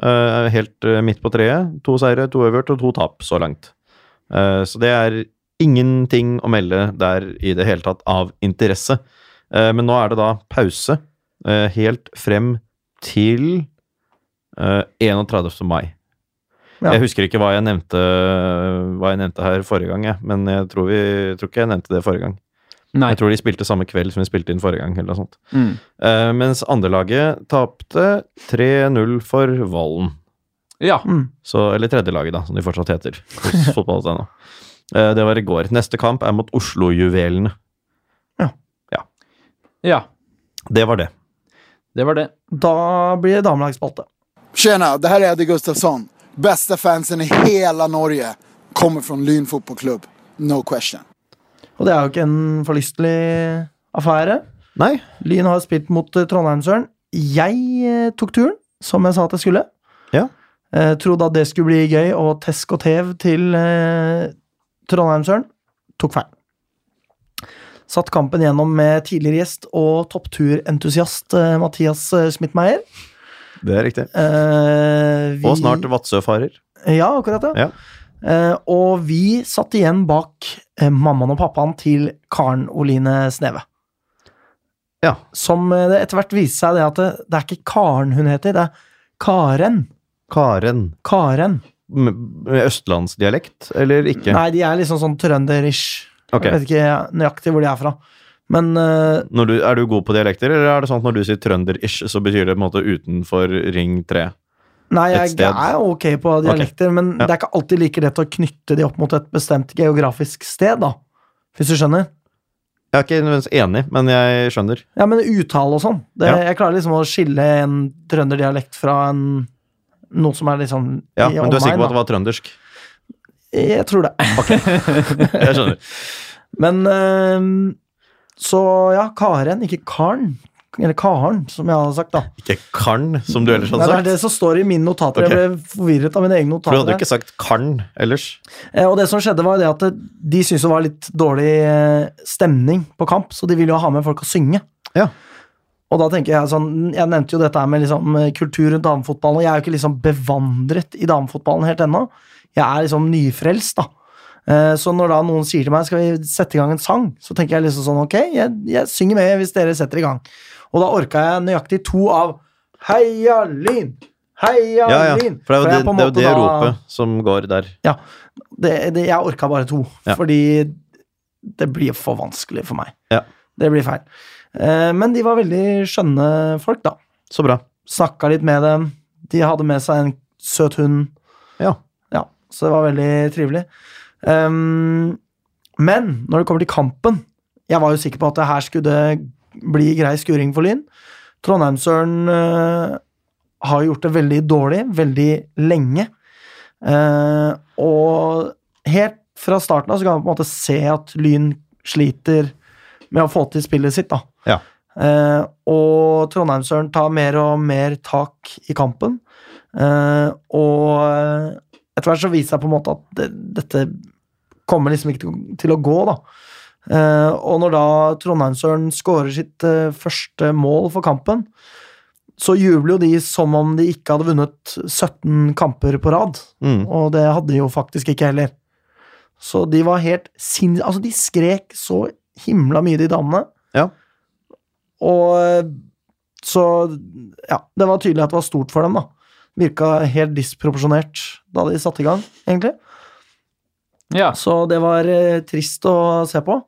S2: Eh, helt eh, midt på treet. To seire, to øvert og to tap så langt. Eh, så det er ingenting å melde der i det hele tatt av interesse. Eh, men nå er det da pause eh, helt frem til eh, 31. mai.
S1: Ja.
S2: Jeg husker ikke hva jeg, nevnte, hva jeg nevnte her forrige gang, jeg, men jeg tror, vi, jeg tror ikke jeg nevnte det forrige gang.
S3: Nei.
S2: Jeg tror de spilte samme kveld som de spilte inn forrige gang. eller noe sånt.
S3: Mm.
S2: Eh, mens andrelaget tapte 3-0 for Vollen.
S3: Ja.
S1: Mm.
S2: Så, eller tredjelaget, da, som de fortsatt heter hos fotball.no. Eh, det var i går. Neste kamp er mot Oslo-juvelene.
S3: ja.
S2: Det var det.
S3: Det var det.
S1: Da blir det damelagsspalte.
S4: Tjena, det här är Eddie Gustafsson. Bästa fansen i hela Norge. Kommer från Lyn fotbollklubb. No question.
S1: Og det er jo ikke en forlystelig affære.
S2: Nei,
S1: Lyn har spilt mot eh, Trondheimsøren. Jeg eh, tok turen, som jeg sa at jeg skulle.
S2: Ja.
S1: Eh, trodde at det skulle bli gøy og tesk og tev til eh, Trondheimsøren. Tok feil. Satt kampen gjennom med tidligere gjest og toppturentusiast eh, Mathias eh, Schmittmeier.
S2: det er riktig.
S1: Eh, vi-
S2: Og snart Vadsø-farer.
S1: Ja, akkurat det.
S2: Ja.
S1: Eh, og vi satt igjen bak eh, mammaen og pappaen til Karen Oline Sneve.
S2: Ja.
S1: Som eh, det etter hvert viste seg det at det, det er ikke Karen hun heter, det er Karen.
S2: Karen.
S1: Karen.
S2: Med med østlandsdialekt, eller ikke?
S1: Nei, de er liksom sånn trønderish.
S2: Ok.
S1: Jeg vet ikke nøyaktig hvor de er fra. Men eh,
S2: Når du, er du god på dialekter, eller er det sånn at når du sier trønder-ish, så betyr det på en måte utenfor ring 3?
S1: nei,
S2: Et
S1: jeg
S2: sted.
S1: er ok på dialekter, men
S2: Ja.
S1: det er ikke alltid like lett å knytte de opp mot et bestemt geografisk sted, da. Hvis du skjønner?
S2: Jeg er ikke nødvendigvis enig, men jeg skjønner.
S1: Ja, men uttale og sånn. Det,
S2: Ja.
S1: Jeg klarer liksom å skille en trønderdialekt fra en noe som er liksom
S2: Ja, Men du er sikker på at det var trøndersk?
S1: Jeg tror det.
S2: Jeg skjønner.
S1: Men øhm, Så ja, Karen, ikke Karen. Eller Karen, som jeg hadde sagt, da.
S2: Ikke Karn, som du ellers
S1: Nei,
S2: hadde
S1: det er
S2: sagt.
S1: det som står i mine notater.
S2: Ok.
S1: Jeg ble forvirret av mine egne
S2: For du
S1: notater.
S2: hadde jo ikke sagt Karn ellers.
S1: Eh, Og det som skjedde, var jo det at det- de syntes det var litt dårlig eh, stemning på kamp, så de ville jo ha med folk å synge.
S2: Ja.
S1: Og da tenker jeg sånn Jeg nevnte jo dette her med liksom eh, kultur rundt damefotballen, og jeg er jo ikke liksom bevandret i damefotballen helt ennå. Jeg er liksom nyfrelst, da. Eh, Så når da noen sier til meg skal vi sette i gang en sang, så tenker jeg liksom sånn ok, jeg, jeg synger med hvis dere setter i gang. Og da orka jeg nøyaktig to av Heia Lyn! Heia
S2: Ja, ja.
S1: Lyn!
S2: For det er
S1: jeg
S2: jo
S1: på
S2: det,
S1: en måte
S2: det, er jo det
S1: da-
S2: ropet som går der.
S1: ja. Det, det, jeg orka bare to,
S2: Ja.
S1: fordi det blir for vanskelig for meg.
S2: Ja.
S1: Det blir feil. Eh, men de var veldig skjønne folk, da.
S2: Så bra.
S1: Snakka litt med dem. De hadde med seg en søt hund.
S2: Ja.
S1: Ja, så det var veldig trivelig. Ehm, men når det kommer til kampen Jeg var jo sikker på at det her skulle bli grei skuring for Lyn. Trondheimsøren øh, har gjort det veldig dårlig, veldig lenge. Eh, og helt fra starten av så kan man på en måte se at Lyn sliter med å få til spillet sitt, da.
S2: Ja.
S1: Eh, og Trondheimsøren tar mer og mer tak i kampen. Eh, og etter hvert så viser jeg på en måte at det, dette kommer liksom ikke til- til å gå, da. Eh, og når da Trondheimsøren skårer sitt eh, første mål for kampen, så jubler jo de som om de ikke hadde vunnet 17 kamper på rad.
S2: Mm.
S1: Og det hadde de jo faktisk ikke heller. Så de var helt sin... Altså, de skrek så himla mye, de damene.
S2: Ja.
S1: Og eh, så Ja, det var tydelig at det var stort for dem, da. Virka helt disproporsjonert da de satte i gang, egentlig.
S3: Ja.
S1: Så det var eh, trist å se på.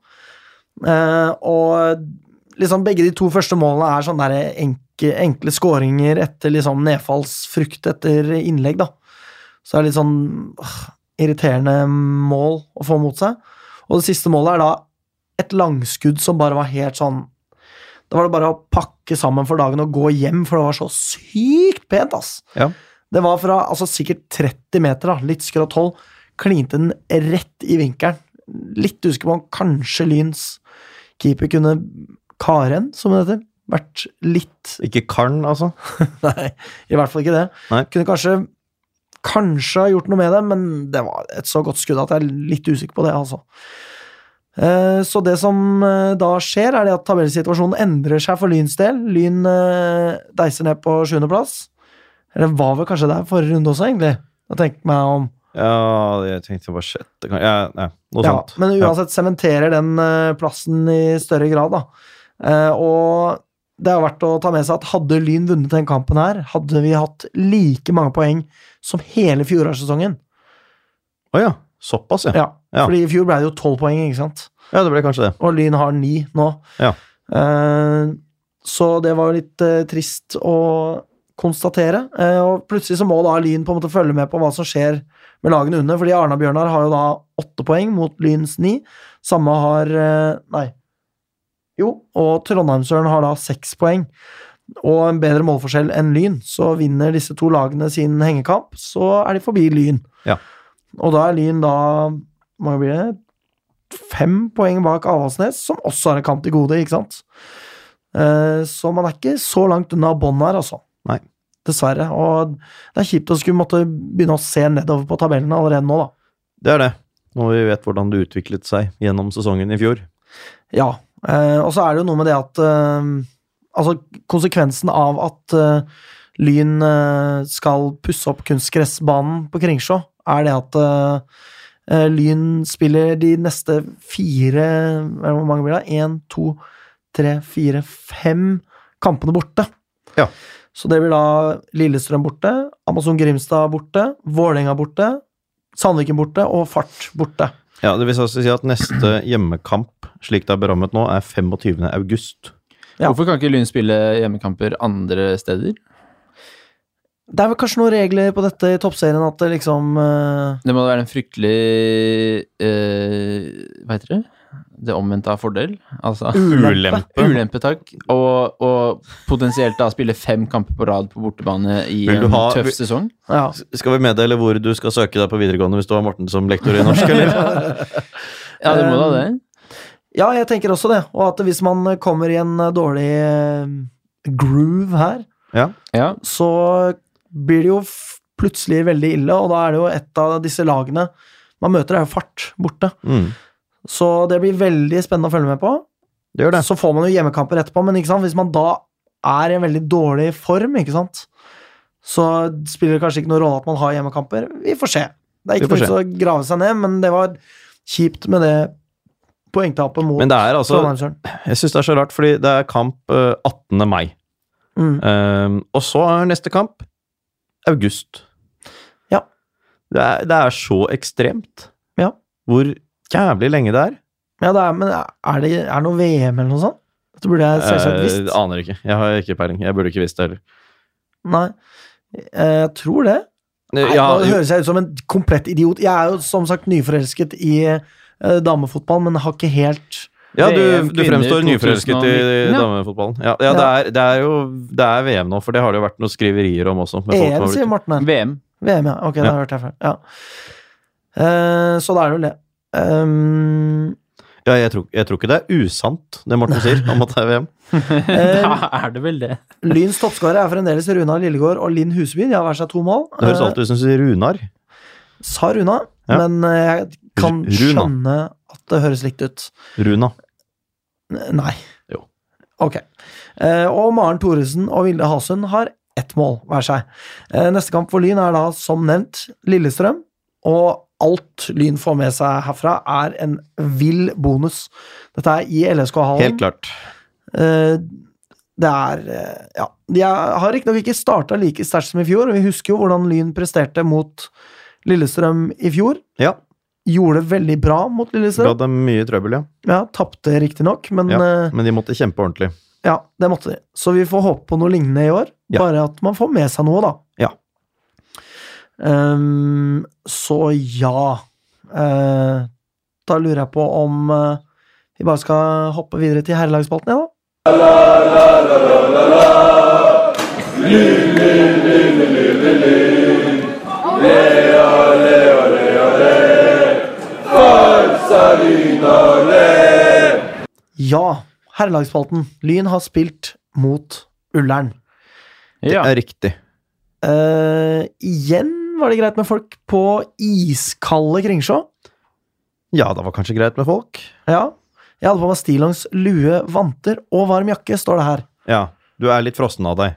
S1: Eh, og liksom begge de to første målene er sånne der enke, enkle skåringer etter liksom nedfallsfrukt etter innlegg, da. Så det er litt sånn åh, irriterende mål å få mot seg. Og det siste målet er da et langskudd som bare var helt sånn Da var det bare å pakke sammen for dagen og gå hjem, for det var så sykt pent, ass.
S2: Ja.
S1: Det var fra altså, sikkert 30 meter, da, litt skrått hold, klinte den rett i vinkelen. Litt usikker på om kanskje Lyns keeper kunne Karen, som det heter, vært litt
S2: Ikke Karn, altså?
S1: Nei, i hvert fall ikke det.
S2: Nei.
S1: Kunne kanskje kanskje ha gjort noe med det, men det var et så godt skudd at jeg er litt usikker på det, altså. Eh, Så det som eh, da skjer, er det at tabellsituasjonen endrer seg for Lyns del. Lyn eh, deiser ned på sjuendeplass. Eller var vel kanskje der forrige runde også, egentlig. Jeg tenker meg om.
S2: Ja, jeg tenkte bare sjette kan- ja, Nei, noe
S1: Ja,
S2: sånt.
S1: men
S2: Ja.
S1: uansett sementerer den eh, plassen i større grad, da. Eh, og det er verdt å ta med seg at hadde Lyn vunnet den kampen her, hadde vi hatt like mange poeng som hele fjorårssesongen.
S2: Å ja. Såpass, ja.
S1: Ja,
S2: Ja.
S1: fordi i fjor ble det jo tolv poeng, ikke sant?
S2: Ja, det ble kanskje det.
S1: Og Lyn har ni nå.
S2: Ja.
S1: Eh, så det var jo litt eh, trist å konstatere. Eh, og plutselig så må da Lyn på en måte følge med på hva som skjer med lagene under, fordi Arna-Bjørnar har jo da åtte poeng mot Lyns ni. Samme har eh, Nei. Jo, og Trondheimsøren har da seks poeng. Og en bedre målforskjell enn Lyn. Så vinner disse to lagene sin hengekamp, så er de forbi Lyn.
S2: Ja.
S1: Og da er Lyn da Hvor mange blir det? fem poeng bak Avaldsnes, som også har en kamp til gode, ikke sant? Eh, Så man er ikke så langt unna bånn her, altså.
S2: Nei.
S1: Dessverre. Og det er kjipt å skulle måtte begynne å se nedover på tabellen allerede nå, da.
S2: Det er det. Når vi vet hvordan det utviklet seg gjennom sesongen i fjor.
S1: Ja. eh, Og så er det jo noe med det at eh, Altså, konsekvensen av at eh, Lyn eh, skal pusse opp kunstgressbanen på Kringsjå, er det at eh, eh, Lyn spiller de neste fire eller Hvor mange blir det? Én, to, tre, fire, fem kampene borte.
S2: Ja.
S1: Så det blir da Lillestrøm borte, Amazon Grimstad borte, Vålerenga borte, Sandviken borte og Fart borte.
S2: Ja, Det vil altså si at neste hjemmekamp, slik det er berammet nå, er 25. august.
S1: Ja.
S3: Hvorfor kan ikke Lyn spille hjemmekamper andre steder?
S1: Det er vel kanskje noen regler på dette i toppserien at det liksom eh,
S3: Det må da være en fryktelig eh, Hva heter det? Det omvendte av fordel. Altså
S2: Ulempe.
S3: Ulempe, takk. Og, og potensielt da spille fem kamper på rad på bortebane i
S2: Vil du
S3: en
S2: ha-
S3: tøff
S2: vil-
S3: sesong.
S1: Ja.
S2: Skal vi meddele hvor du skal søke deg på videregående hvis du har Morten som lektor i norsk, eller?
S3: Ja, det må da det.
S1: ja, jeg tenker også det. Og at hvis man kommer i en eh, dårlig eh, groove her,
S3: Ja.
S1: så blir det jo f- plutselig veldig ille, og da er det jo et av disse lagene man møter, er jo fart borte.
S2: Mm.
S1: Så det blir veldig spennende å følge med på.
S2: Det gjør det.
S1: Så får man jo hjemmekamper etterpå, men ikke sant? hvis man da er i en veldig dårlig form, ikke sant? så spiller det kanskje ikke noen rolle at man har hjemmekamper. Vi får se. Det er
S2: Vi
S1: ikke noe
S2: får
S1: vits å grave seg ned, men det var kjipt med det poengtapet mot
S2: Men det er altså
S1: Trondheimsøren.
S2: Jeg syns det er så rart, fordi det er kamp eh, 18. mai.
S1: Mm.
S2: Ehm, og så er neste kamp august.
S1: Ja.
S2: Det er, det er så ekstremt
S1: Ja.
S2: hvor jævlig lenge det er.
S1: Ja, det er, men er det er det noe VM eller noe sånt? Dette burde jeg selvsagt
S2: Eh,
S1: visst.
S2: aner ikke. Jeg har ikke peiling. Jeg burde ikke visst det heller.
S1: Nei. Eh, Jeg tror det. Nei,
S2: ja,
S1: Nå høres jeg ut som en komplett idiot. Jeg er jo som sagt nyforelsket i eh, damefotball, men har ikke helt
S2: ja,
S3: VM
S2: du, du fremstår
S3: kvinner
S2: nyforelsket i
S3: 2019, ja.
S2: damefotballen. Ja, ja, det,
S1: Ja.
S2: er, det er jo det er VM nå, for det har det jo vært noen skriverier om også. med folk som
S1: EM,
S2: har blitt-
S1: E sier Morten her.
S3: VM.
S1: VM, ja. Ok, da
S2: Ja.
S1: hørte jeg feil. Ja. Eh, så da er det vel det. Ehm,
S2: ja, jeg, tror, jeg tror ikke det er usant, det Morten sier om at det er VM. Eh,
S3: da er det vel det.
S1: Lyns toppskårer er fremdeles Runar Lillegård og Linn Huseby. De har hver seg to mål.
S2: Det høres
S1: Eh,
S2: alltid ut som du sier Runar.
S1: sa Runa,
S2: Ja.
S1: men eh, jeg kan
S2: R- Runa.
S1: skjønne at det høres likt ut.
S2: Runa.
S1: N- Nei.
S2: Jo.
S1: Ok. Eh, og Maren Thoresen og Vilde Hasund har ett mål hver seg. Eh, neste kamp for Lyn er da, som nevnt, Lillestrøm. Og alt Lyn får med seg herfra, er en vill bonus. Dette er i LSK-hallen.
S2: Helt klart.
S1: Eh, det er eh, Ja. De er- har riktignok ikke starta like sterkt som i fjor, og vi husker jo hvordan Lyn presterte mot Lillestrøm i fjor.
S2: Ja.
S1: Gjorde det veldig bra mot
S2: Ga
S1: Lillestrøm.
S2: dem mye trøbbel, ja.
S1: Ja, Tapte riktignok, men
S2: Ja.
S1: eh,
S2: Men de måtte kjempe ordentlig.
S1: ja, det måtte de. Så vi får håpe på noe lignende i år.
S2: Ja.
S1: Bare at man får med seg noe, da.
S2: Ja.
S1: Ehm, så ja Eh, Da lurer jeg på om eh, vi bare skal hoppe videre til herrelagsspalten, ja, da. Ja, herrelagsspalten. Lyn har spilt mot Ullern.
S2: Det
S3: Ja.
S2: er riktig.
S1: Eh, igjen var det greit med folk på iskalde Kringsjå.
S2: Ja, det var kanskje greit med folk.
S1: Ja. Jeg hadde på meg stillongs, lue, vanter og varm jakke, står det her.
S2: Ja, du er litt frossen av deg.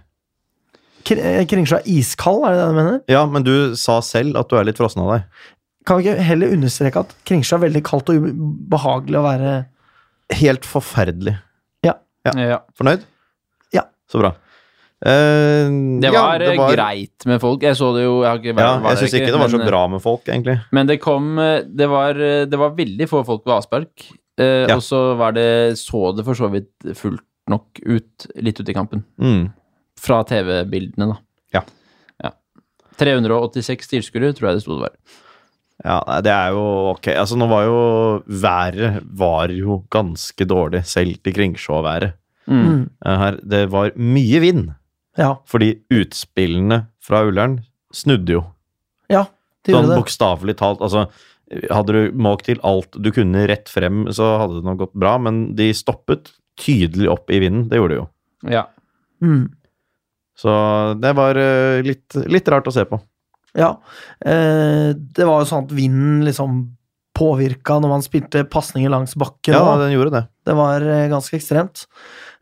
S1: Kr- eh, Kringsjå er iskald, er det det du mener?
S2: Ja, men du sa selv at du er litt frossen av deg.
S1: Kan vi ikke heller understreke at Kringsjå er veldig kaldt og ubehagelig å være
S2: Helt forferdelig.
S3: Ja.
S2: Fornøyd?
S1: Ja.
S2: Så bra. Eh,
S3: Det
S2: ja,
S3: var, eh, greit med folk. Jeg så det jo Jeg, har ikke vært-
S2: Ja,
S3: var
S2: jeg
S3: der
S2: syns ikke det var så
S3: men, eh,
S2: bra med folk, egentlig.
S3: Men det kom eh, Det var, eh, det var veldig få folk ved avspark. Eh,
S2: Ja.
S3: Og så var det Så det for så vidt fullt nok ut litt ut i kampen.
S2: Mm.
S3: Fra TV-bildene, da.
S2: Ja.
S3: Ja. 386 tilskuere, tror jeg det sto det var.
S2: Ja, nei, det er jo ok. Altså, nå var jo været var jo ganske dårlig, selv til Kringsjå-været.
S3: Mm.
S1: mm,
S2: Eh, Her, det var mye vind,
S1: Ja.
S2: fordi utspillene fra Ullern snudde jo.
S1: ja de
S2: Sånn
S1: gjorde det.
S2: bokstavelig talt, altså Hadde du måkt til alt du kunne rett frem, så hadde det nok gått bra, men de stoppet tydelig opp i vinden. Det gjorde de jo.
S3: Ja.
S1: Mm.
S2: Så det var eh, litt, litt rart å se på.
S1: Ja. Eh, det var jo sånn at vinden liksom påvirka når man spilte pasninger langs bakken.
S2: Ja,
S1: og
S2: den gjorde det.
S1: Det var eh, ganske ekstremt.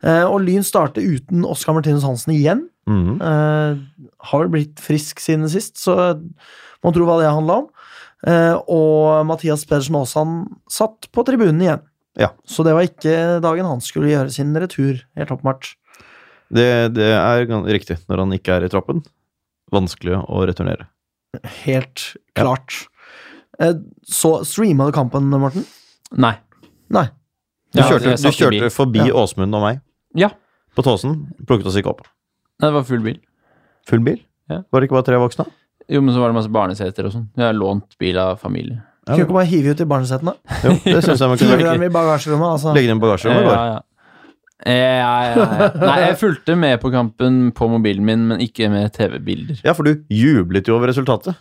S1: Eh, og Lyn starter uten Oskar Martinus Hansen igjen.
S2: Mhm.
S1: Eh, har vel blitt frisk siden sist, så må tro hva det handla om. Eh, og Mathias Pedersen Aasand satt på tribunen igjen.
S2: Ja.
S1: Så det var ikke dagen han skulle gjøre sin retur, helt åpenbart.
S2: Det, det er gan- riktig. Når han ikke er i troppen, vanskelig å returnere.
S1: Helt klart. Eh, så streama du kampen, Morten?
S3: Nei.
S1: Nei.
S2: Du
S3: Ja,
S2: kjørte,
S3: jeg
S2: du
S3: satt i bil.
S2: kjørte forbi
S1: Ja.
S2: Åsmund og meg
S3: Ja.
S2: på Tåsen. Plukket oss ikke opp.
S3: Nei, det var full bil.
S2: Full bil?
S3: Ja.
S2: Var det ikke bare tre voksne?
S3: Jo, men så var det masse barneseter og sånn. Jeg har lånt bil av familie.
S1: Kunne ikke bare hive ut i barnesetene.
S2: Jo, det syns jeg man kunne
S1: Hive dem
S2: legge,
S1: i bagasjerommet, altså.
S2: legge inn i bagasjerommet. bare.
S3: ja. Eh, Ja, ja, ja. Nei, jeg fulgte med på kampen på mobilen min, men ikke med TV-bilder.
S2: Ja, for du jublet jo over resultatet.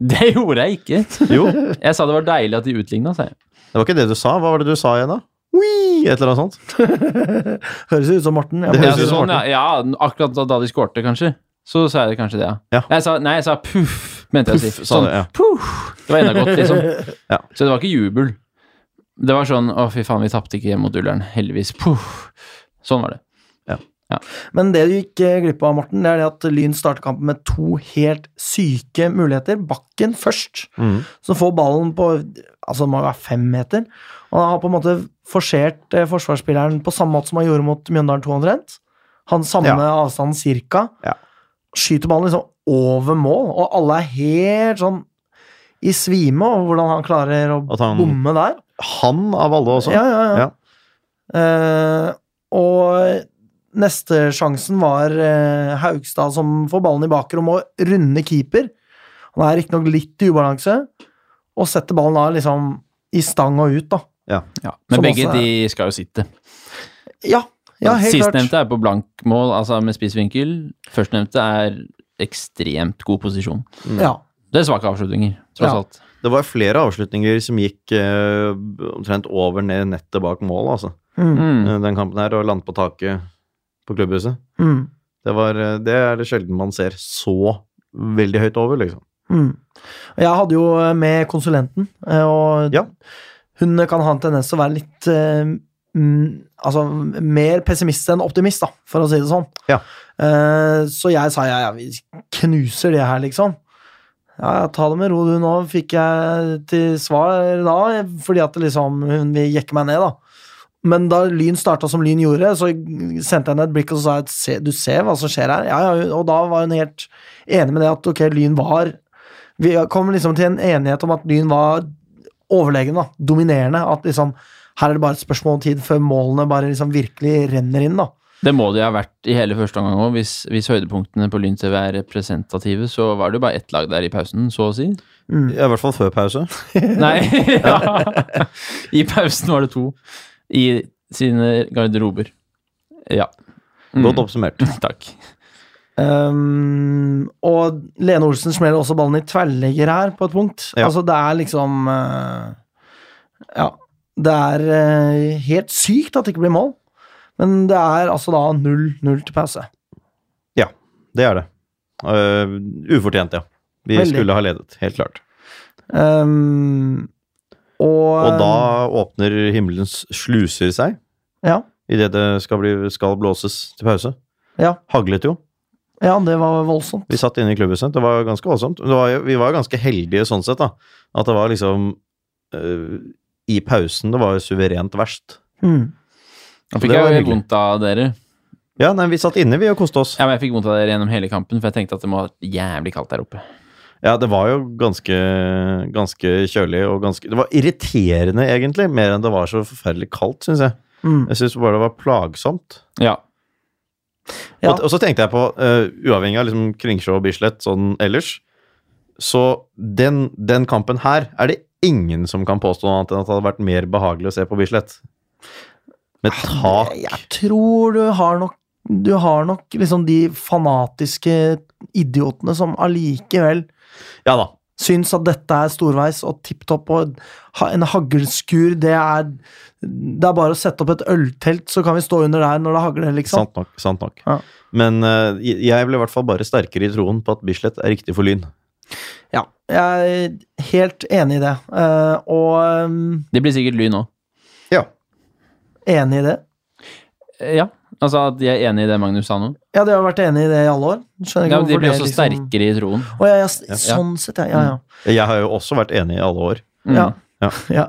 S3: Det gjorde jeg ikke.
S2: Jo, det
S3: Jeg sa det var deilig at de utligna, sa jeg.
S2: var ikke det du sa. Hva var det du sa igjen, da? Ui, et eller annet sånt.
S1: Høres jo ut som Morten. Jeg
S2: Det
S1: bare-
S3: Ja,
S2: høres ut som
S3: sånn, ja,
S2: Morten.
S3: ja, akkurat da- da de skårte, kanskje. Så sa jeg det kanskje det, ja.
S2: Ja.
S3: Jeg sa, nei, jeg sa puff, mente jeg å si.
S2: Puff, sa
S3: Sånn,
S2: du, ja.
S3: puff. Det var enda godt, liksom.
S2: Ja.
S3: Så det var ikke jubel. Det var sånn å, fy faen, vi tapte ikke mot Ullern, heldigvis. Puff. Sånn var det.
S1: Men det du gikk eh, glipp av, Morten, det er det at Lyn starter kampen med to helt syke muligheter. Bakken først,
S2: Mhm.
S1: som får ballen på altså det må være fem meter. Og han har på en måte forsert eh, forsvarsspilleren på samme måte som han gjorde mot Mjøndalen 2 omtrent. Han samme avstanden cirka.
S2: Ja.
S1: Skyter ballen liksom over mål, og alle er helt sånn i svime over hvordan han klarer å
S2: At han-
S1: bomme der.
S2: Han av alle også.
S1: Ja, ja, ja.
S2: sånn.
S1: Eh,
S2: Ja.
S1: og neste sjansen var eh, Haugstad som får ballen i bakrom og runde keeper. Han er riktignok litt i ubalanse, og setter ballen da liksom i stang og ut, da.
S3: Men
S1: Som
S3: begge
S1: også er-
S3: de skal jo sitte.
S1: Ja, ja helt klart.
S3: Sistnevnte er på blankmål, altså med spissvinkel. Førstnevnte er ekstremt god posisjon.
S1: Ja.
S3: Det er svake avslutninger, tross
S1: Ja.
S3: alt.
S2: Det var flere avslutninger som gikk eh, omtrent over ned nettet bak mål, altså.
S1: Mm,
S3: Mm.
S2: Den kampen her, og landet på taket på klubbhuset.
S1: mm,
S2: Det, var, eh, det er det sjelden man ser så veldig høyt over, liksom.
S1: mm. Og Jeg hadde jo eh, med konsulenten, eh, og
S2: Ja.
S1: hun kan ha en tendens til å være litt eh, mm, Altså mer pessimist enn optimist, da, for å si det sånn.
S2: Ja.
S1: Eh, så jeg sa ja, ja, vi knuser det her, liksom. Ja, ja, ta det med ro, du. Nå fikk jeg til svar da, fordi at liksom hun vil jekke meg ned, da. Men da Lyn starta som Lyn gjorde, så sendte jeg henne et blikk og så sa jeg, se, du ser hva som skjer her. Ja, ja, og da var hun helt enig med det at ok, Lyn var Vi kom liksom til en enighet om at Lyn var overlegen, da. Dominerende. At liksom her er det bare et spørsmål om tid før målene bare liksom virkelig renner inn, da.
S3: Det må det jo ha vært i hele første omgang òg. Hvis, hvis høydepunktene på Lyn TV er representative, så var det jo bare ett lag der i pausen, så å si.
S2: Ja, I hvert fall før pause.
S3: Nei, ja. I pausen var det to i sine garderober. Ja. Mm,
S2: Godt oppsummert.
S3: Takk.
S1: Ehm, og Lene Olsen smeller også ballen i tverrlegger her, på et punkt.
S2: Ja.
S1: Altså, det er liksom eh, Ja. Det er eh, helt sykt at det ikke blir mål. Men det er altså da 0-0 til pause.
S2: Det er det. Eh, ufortjent, ja. Vi
S1: Veldig.
S2: skulle ha ledet, helt klart.
S1: Ehm, og,
S2: Og da åpner himmelens sluser seg
S1: Ja.
S2: idet det skal, bli, skal blåses til pause.
S1: Ja.
S2: Haglet jo.
S1: ja, det var voldsomt.
S2: Vi satt inne i klubbhuset. Det var ganske voldsomt. Det var, jo- vi var jo ganske heldige sånn sett, da. At det var liksom eh, I pausen det var jo suverent verst.
S1: Mm.
S3: Da
S2: Det
S3: fikk
S2: var
S3: jeg jo
S2: hyggelig.
S3: vondt av dere.
S2: Ja, nei, vi satt inne, vi, og koste oss.
S3: Ja, men jeg fikk vondt av dere gjennom hele kampen, for jeg tenkte at det må ha vært jævlig kaldt der oppe.
S2: Ja, det var jo ganske, ganske kjølig og ganske Det var irriterende, egentlig, mer enn det var så forferdelig kaldt, syns jeg.
S1: Mm.
S2: Jeg syns bare det var plagsomt.
S3: Ja.
S1: Ja.
S2: Og, og så tenkte jeg på, eh, uavhengig av liksom Kringsjå og Bislett sånn ellers, så den, den kampen her er det ingen som kan påstå noe annet enn at det hadde vært mer behagelig å se på Bislett. Med tak
S1: Jeg tror du har nok Du har nok liksom de fanatiske idiotene som allikevel
S2: Ja da.
S1: syns at dette er storveis og tipp topp, og ha- en haglskur, det er Det er bare å sette opp et øltelt, så kan vi stå under der når det hagler, liksom.
S2: Sant nok. sant nok.
S1: Ja.
S2: Men eh, jeg ble i hvert fall bare sterkere i troen på at Bislett er riktig for Lyn.
S1: Ja, jeg er helt enig i det. Eh, og ehm,
S3: Det blir sikkert lyn òg.
S2: Ja.
S1: enig i det.
S3: Ja. Altså at de er enig i det Magnus sa nå.
S1: Ja, de har vært enig i det i alle år. Skjønner ikke
S3: Ja, men de
S1: hvorfor
S3: blir
S1: det
S3: også
S1: liksom-
S3: sterkere i troen.
S1: Å, ja, ja, s-
S2: Ja.
S1: sånn sett, ja. ja, ja.
S2: Jeg har jo også vært enig i alle år.
S3: Mm.
S1: Ja.
S2: Ja.
S1: ja.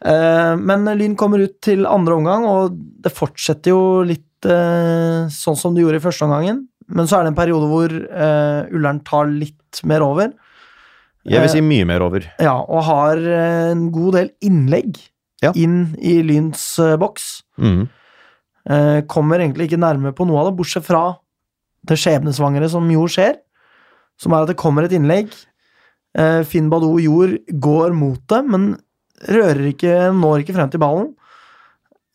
S1: Eh, men Lyn kommer ut til andre omgang, og det fortsetter jo litt eh, sånn som det gjorde i første omgangen. Men så er det en periode hvor eh, Ullern tar litt mer over,
S2: Jeg
S1: Eh,
S2: vil si mye mer over.
S1: ja, og har eh, en god del innlegg
S2: Ja.
S1: inn i Lyns eh, boks.
S2: Mhm.
S1: Eh, kommer egentlig ikke nærme på noe av det, bortsett fra det skjebnesvangre som jo skjer, som er at det kommer et innlegg. Eh, Finn Badou Jord går mot det, men rører ikke, når ikke frem til ballen.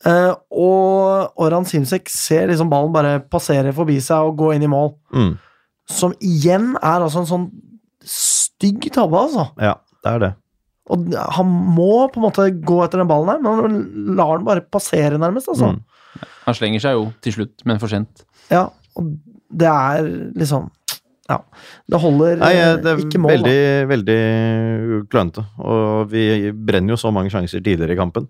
S1: Eh, og Oran Simsek ser liksom ballen bare passere forbi seg og gå inn i mål.
S2: Mhm.
S1: Som igjen er altså en sånn stygg tabbe, altså.
S2: Ja, det er det.
S1: Og han må på en måte gå etter den ballen her, men han lar den bare passere, nærmest. altså.
S2: Mhm.
S3: Han slenger seg jo til slutt, men for sent.
S1: Ja, og det er liksom Ja. Det holder
S2: Nei,
S1: eh,
S2: det er
S1: ikke mål,
S2: veldig, veldig klønete. Og vi brenner jo så mange sjanser tidligere i kampen.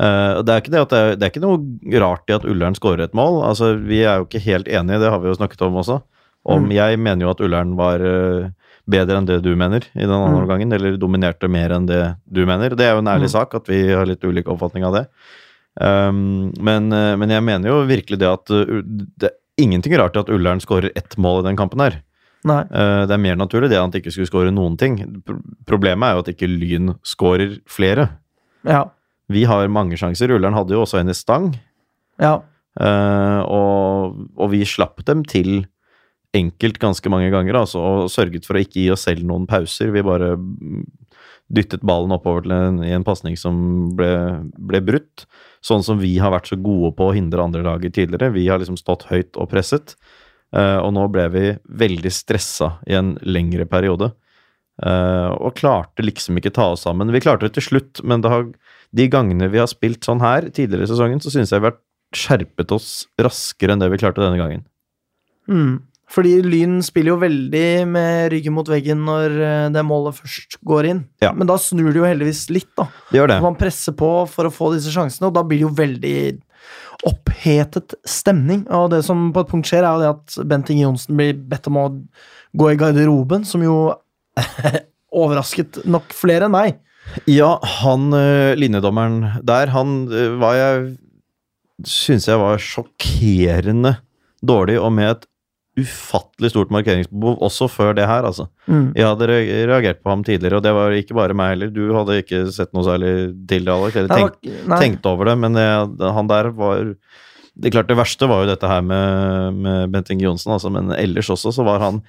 S2: Eh, og det, er ikke det, at det, er, det er ikke noe rart i at Ullern skårer et mål. Altså, vi er jo ikke helt enige, det har vi jo snakket om også. Om
S1: Mm.
S2: Jeg mener jo at Ullern var eh, bedre enn det du mener i den andre
S1: Mm.
S2: omgangen. Eller dominerte mer enn det du mener. Det er jo en ærlig
S1: Mm.
S2: sak at vi har litt ulik oppfatning av det. Um, men, eh, men jeg mener jo virkelig det at eh, det er ingenting rart i at Ullern skårer ett mål i den kampen her.
S1: da. Nei.
S2: Eh, Det er mer naturlig det enn at de ikke skulle score noen ting. Pro- Problemet er jo at ikke Lyn scorer flere.
S1: Ja.
S2: Vi har mange sjanser. Ullern hadde jo også en i stang,
S1: ja.
S2: eh, og, og vi slapp dem til enkelt ganske mange ganger, altså, og sørget for å ikke gi oss selv noen pauser. Vi bare mm, dyttet ballen oppover til en, i en pasning som ble, ble brutt. Sånn som vi har vært så gode på å hindre andre laget tidligere. Vi har liksom stått høyt og presset. Eh, og nå ble vi veldig stressa i en lengre periode. Eh, og klarte liksom ikke ta oss sammen. Vi klarte det til slutt, men det har, de gangene vi har spilt sånn her tidligere i sesongen, så syns jeg vi har skjerpet oss raskere enn det vi klarte denne gangen.
S1: Mm. Fordi Lyn spiller jo veldig med ryggen mot veggen når eh, det målet først går inn.
S2: Ja.
S1: Men da snur det jo heldigvis litt, da.
S2: Det gjør det.
S1: Man presser på for å få disse sjansene, og da blir det jo veldig opphetet stemning. Og det som på et punkt skjer, er jo det at Bent Inge Johnsen blir bedt om å gå i garderoben, som jo overrasket nok flere enn meg.
S2: Ja, han eh, linjedommeren der, han eh, var jeg Syns jeg var sjokkerende dårlig, og med et ufattelig stort markeringsbehov også før det her, altså.
S1: Mm.
S2: Jeg hadde re- reagert på ham tidligere, og det var ikke bare meg heller. Du hadde ikke sett noe særlig til det, Alex. Eller
S1: Nei,
S2: tenkt,
S1: det var- nei.
S2: tenkt over det, men jeg, han der var det, er klart det verste var jo dette her med, med Bent Inge Johnsen, altså, men ellers også så var han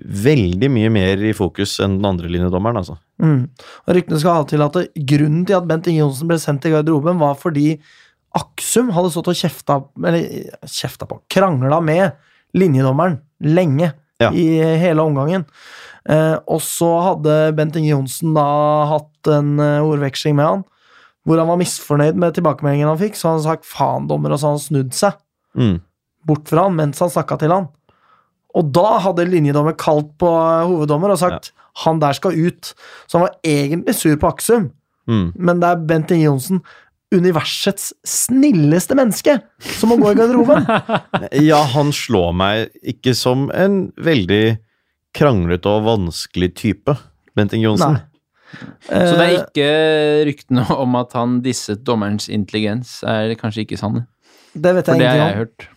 S2: veldig mye mer i fokus enn den andre linjedommeren, altså.
S1: Mm. Og ryktene skal ha til at det, grunnen til at Bent Inge Johnsen ble sendt til garderoben, var fordi Aksum hadde stått og kjefta Eller kjefta på Krangla med linjedommeren lenge
S2: Ja.
S1: i hele omgangen. Eh, og så hadde Bent Inge Johnsen da hatt en eh, ordveksling med han, hvor han var misfornøyd med tilbakemeldingen han fikk, så han sagt 'faen, dommer', og så har han snudd seg
S2: Mm.
S1: bort fra han mens han snakka til han. Og da hadde linjedommer kalt på eh, hoveddommer og sagt 'han der skal ut'. Så han var egentlig sur på Aksum,
S2: Mm.
S1: men det er Bent Inge Johnsen, universets snilleste menneske, som må gå i garderoben.
S2: Ja, han slår meg ikke som en veldig kranglete og vanskelig type, Bent Inge
S1: Nei.
S2: Johnsen.
S1: Eh,
S3: Så det er ikke ryktene om at han disset dommerens intelligens, er det kanskje ikke sanne.
S1: det vet
S3: For
S1: jeg
S3: det har jeg
S1: ingenting om.
S3: hørt.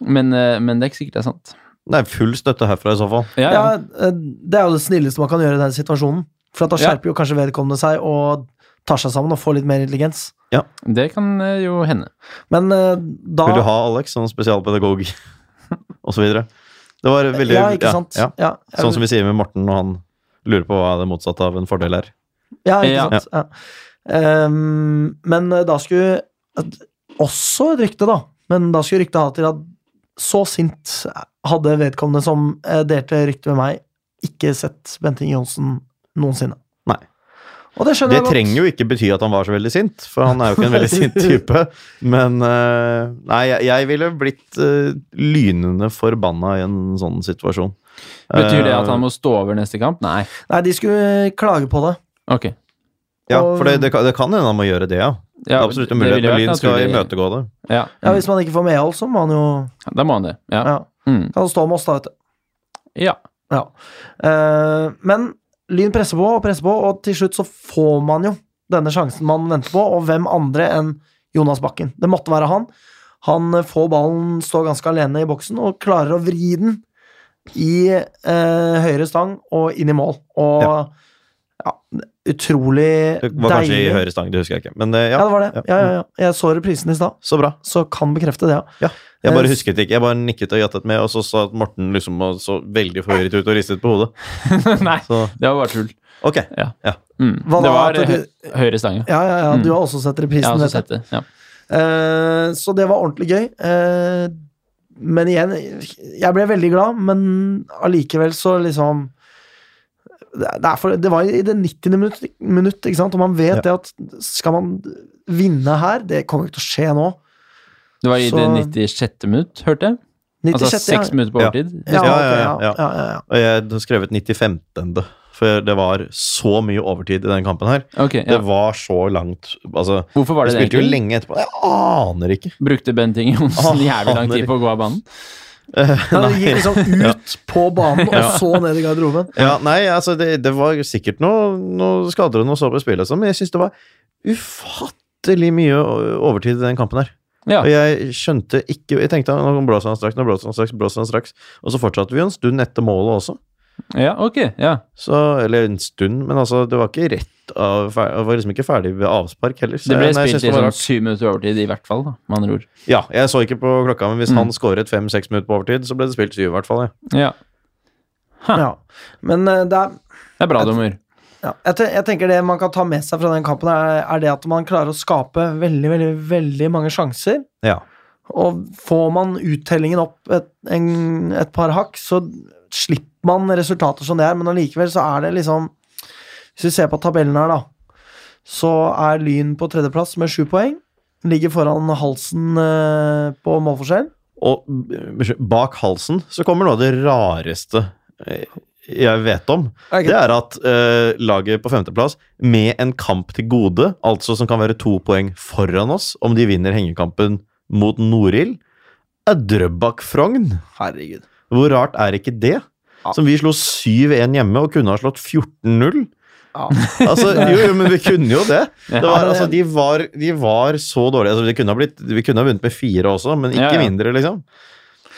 S3: Men, eh, men det er ikke sikkert det er sant.
S2: Det er full støtte herfra i så fall.
S3: Ja, ja.
S1: Ja, eh, det er jo det snilleste man kan gjøre i den situasjonen. For at da
S3: Ja.
S1: skjerper jo kanskje vedkommende seg og tar seg sammen og får litt mer intelligens.
S3: Det kan eh, jo hende.
S1: Men eh, da
S2: Vil du ha Alex som spesialpedagog, og så videre? Det var veldig
S1: Ja, ikke sant?
S2: Ja, ja.
S1: Ja, jeg-
S2: Sånn som vi sier med Morten når han lurer på hva det motsatte av en fordel er.
S1: Ja, ikke
S3: Ja.
S1: sant. Ja. Ehm, men eh, da skulle at- Også et rykte, da. Men da skulle ryktet ha til at så sint eh, hadde vedkommende som eh, delte ryktet med meg, ikke sett Bent Inge Johnsen noensinne.
S2: Nei.
S1: Og det skjønner
S2: Det
S1: jeg godt.
S2: trenger jo ikke bety at han var så veldig sint, for han er jo ikke en veldig sint type. Men eh, nei, jeg, jeg ville blitt eh, lynende forbanna i en sånn situasjon.
S3: Betyr det
S2: Eh,
S3: at han må stå over neste kamp? Nei.
S1: Nei, de skulle klage på det.
S3: Ok.
S2: Ja,
S1: og-
S2: for det, det, kan- det kan hende han må gjøre det, ja. Det
S3: Ja,
S2: er absolutt en
S3: det
S2: mulighet,
S3: ville
S2: men
S3: vært
S2: Lyn skal
S3: naturlig.
S2: imøtegå det.
S3: Ja.
S1: Ja, Hvis man ikke får medhold, så må han jo
S3: Da må han det. Mm. Ja.
S1: ja.
S3: Mm.
S1: Kan stå med oss, da, vet du.
S3: ja.
S1: Ja. Eh, men Lyn presser på og presser på, og til slutt så får man jo denne sjansen man venter på, og hvem andre enn Jonas Bakken. Det måtte være han. Han eh, får ballen, står ganske alene i boksen og klarer å vri den i eh, høyre stang og inn i mål. Og ja, utrolig
S2: Det var kanskje i
S1: deilig.
S2: høyre stang, det husker jeg ikke. Men eh,
S1: Ja,
S2: ja,
S1: det var det. Ja, ja, ja. Jeg så reprisen i stad,
S2: så bra.
S1: så kan bekrefte det, ja.
S2: Jeg
S1: Eh,
S2: bare husket ikke. Jeg bare nikket og jattet med, og så sa Morten liksom og så veldig forvirret ut og ristet på hodet.
S3: Nei,
S2: Så
S3: det var bare tull.
S2: ok.
S3: Mm.
S1: Hva
S3: Det
S1: da,
S3: var
S1: at
S3: eh,
S1: du-
S3: hø- høyre stange.
S1: Ja, ja, ja.
S3: Mm.
S1: Du har også sett
S3: Jeg
S1: reprisen.
S3: har også
S1: vet jeg.
S3: sett det. Ja.
S1: Eh, så det var ordentlig gøy. Eh, men igjen, jeg ble veldig glad, men allikevel så liksom det, det er for, det var i det 90. minutt, minutt ikke sant? og man vet
S2: Ja.
S1: det at skal man vinne her Det kommer ikke til å skje nå.
S3: Det var i
S1: Så-
S3: det 96. minutt, hørte jeg.
S1: 96,
S3: Altså seks
S1: ja.
S3: minutter på
S2: Ja.
S3: overtid.
S1: Ja, ok,
S2: Ja, ja,
S1: ja,
S2: ja.
S1: ja, ja, ja.
S2: Og jeg har skrevet 95. For det var så mye overtid i den kampen her.
S3: Ok,
S2: Det
S3: ja.
S2: var så langt Altså,
S3: Hvorfor var
S2: vi
S3: det det
S2: spilte jo
S3: egentlig?
S2: lenge etterpå. Jeg aner ikke.
S3: Brukte Bent Inge
S2: Åh,
S3: Johnsen jævlig lang
S2: fader.
S3: tid på å gå av banen?
S1: Nei, det gikk liksom ut på banen og så ned i garderoben.
S2: Ja, nei, altså, det, det var sikkert noe, noe skader og noe så på spillet, altså, men jeg syns det var ufattelig mye o- overtid i den kampen her.
S3: Ja.
S2: Og jeg skjønte ikke Jeg tenkte nå blåser han straks, nå blåser han straks, blåser han straks. Og så fortsatte vi jo en stund etter målet også.
S3: Ja, ok. Ja.
S2: Så, eller en stund, men altså, det var ikke rett av fer- Det var liksom ikke ferdig ved avspark heller. Så
S3: Det ble
S2: jeg- nei, jeg synes
S3: spilt i
S2: det var
S3: sånn
S2: rart.
S3: syv minutter overtid, i hvert fall, da, med andre ord.
S2: Ja, jeg så ikke på klokka, men hvis
S3: Mm.
S2: han skåret fem-seks minutter på overtid, så ble det spilt syv, i hvert fall. Ja.
S3: Ja.
S1: Ja. Men eh, det er
S3: Det er bra, dommer.
S1: Ja, jeg, te- jeg tenker Det man kan ta med seg fra den kampen, er, er det at man klarer å skape veldig veldig, veldig mange sjanser.
S2: Ja.
S1: Og får man uttellingen opp et, en, et par hakk, så slipper man resultater som det er, men allikevel så er det liksom Hvis vi ser på tabellen her, da, så er Lyn på tredjeplass med sju poeng. Ligger foran halsen eh, på målforskjell.
S2: Og b- unnskyld, bak halsen så kommer noe av det rareste eh, jeg vet om. Det er at eh, laget på femteplass, med en kamp til gode, altså som kan være to poeng foran oss om de vinner hengekampen mot Norild, er Drøbak Frogn.
S1: Herregud.
S2: Hvor rart er ikke det?
S1: Ja.
S2: Som vi slo 7-1 hjemme og kunne ha slått 14-0.
S1: Ja.
S2: Altså, jo, jo, men vi kunne jo det.
S3: Ja.
S2: det var, altså, de, var, de var så dårlige. Altså, de kunne ha blitt, vi kunne ha vunnet med fire også, men ikke
S3: Ja, ja.
S2: mindre, liksom.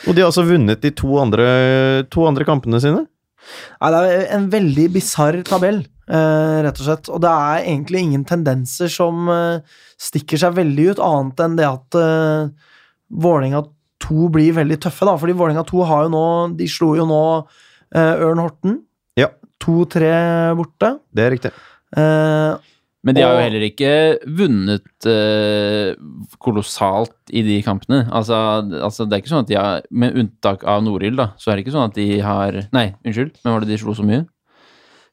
S2: Og de har altså vunnet de to andre, to andre kampene sine.
S1: Nei, det er en veldig bisarr tabell, eh, rett og slett. Og det er egentlig ingen tendenser som eh, stikker seg veldig ut, annet enn det at eh, Vålerenga 2 blir veldig tøffe, da. Fordi Vålerenga 2 har jo nå De slo jo nå eh, Ørn Horten.
S2: Ja.
S1: 2-3 borte.
S2: Det er riktig.
S1: Eh,
S3: Men de har jo
S1: Og-
S3: heller ikke vunnet eh, kolossalt i de kampene. Altså, altså, det er ikke sånn at de har Med unntak av Norild, da, så er det ikke sånn at de har Nei, unnskyld, men var det de slo så mye?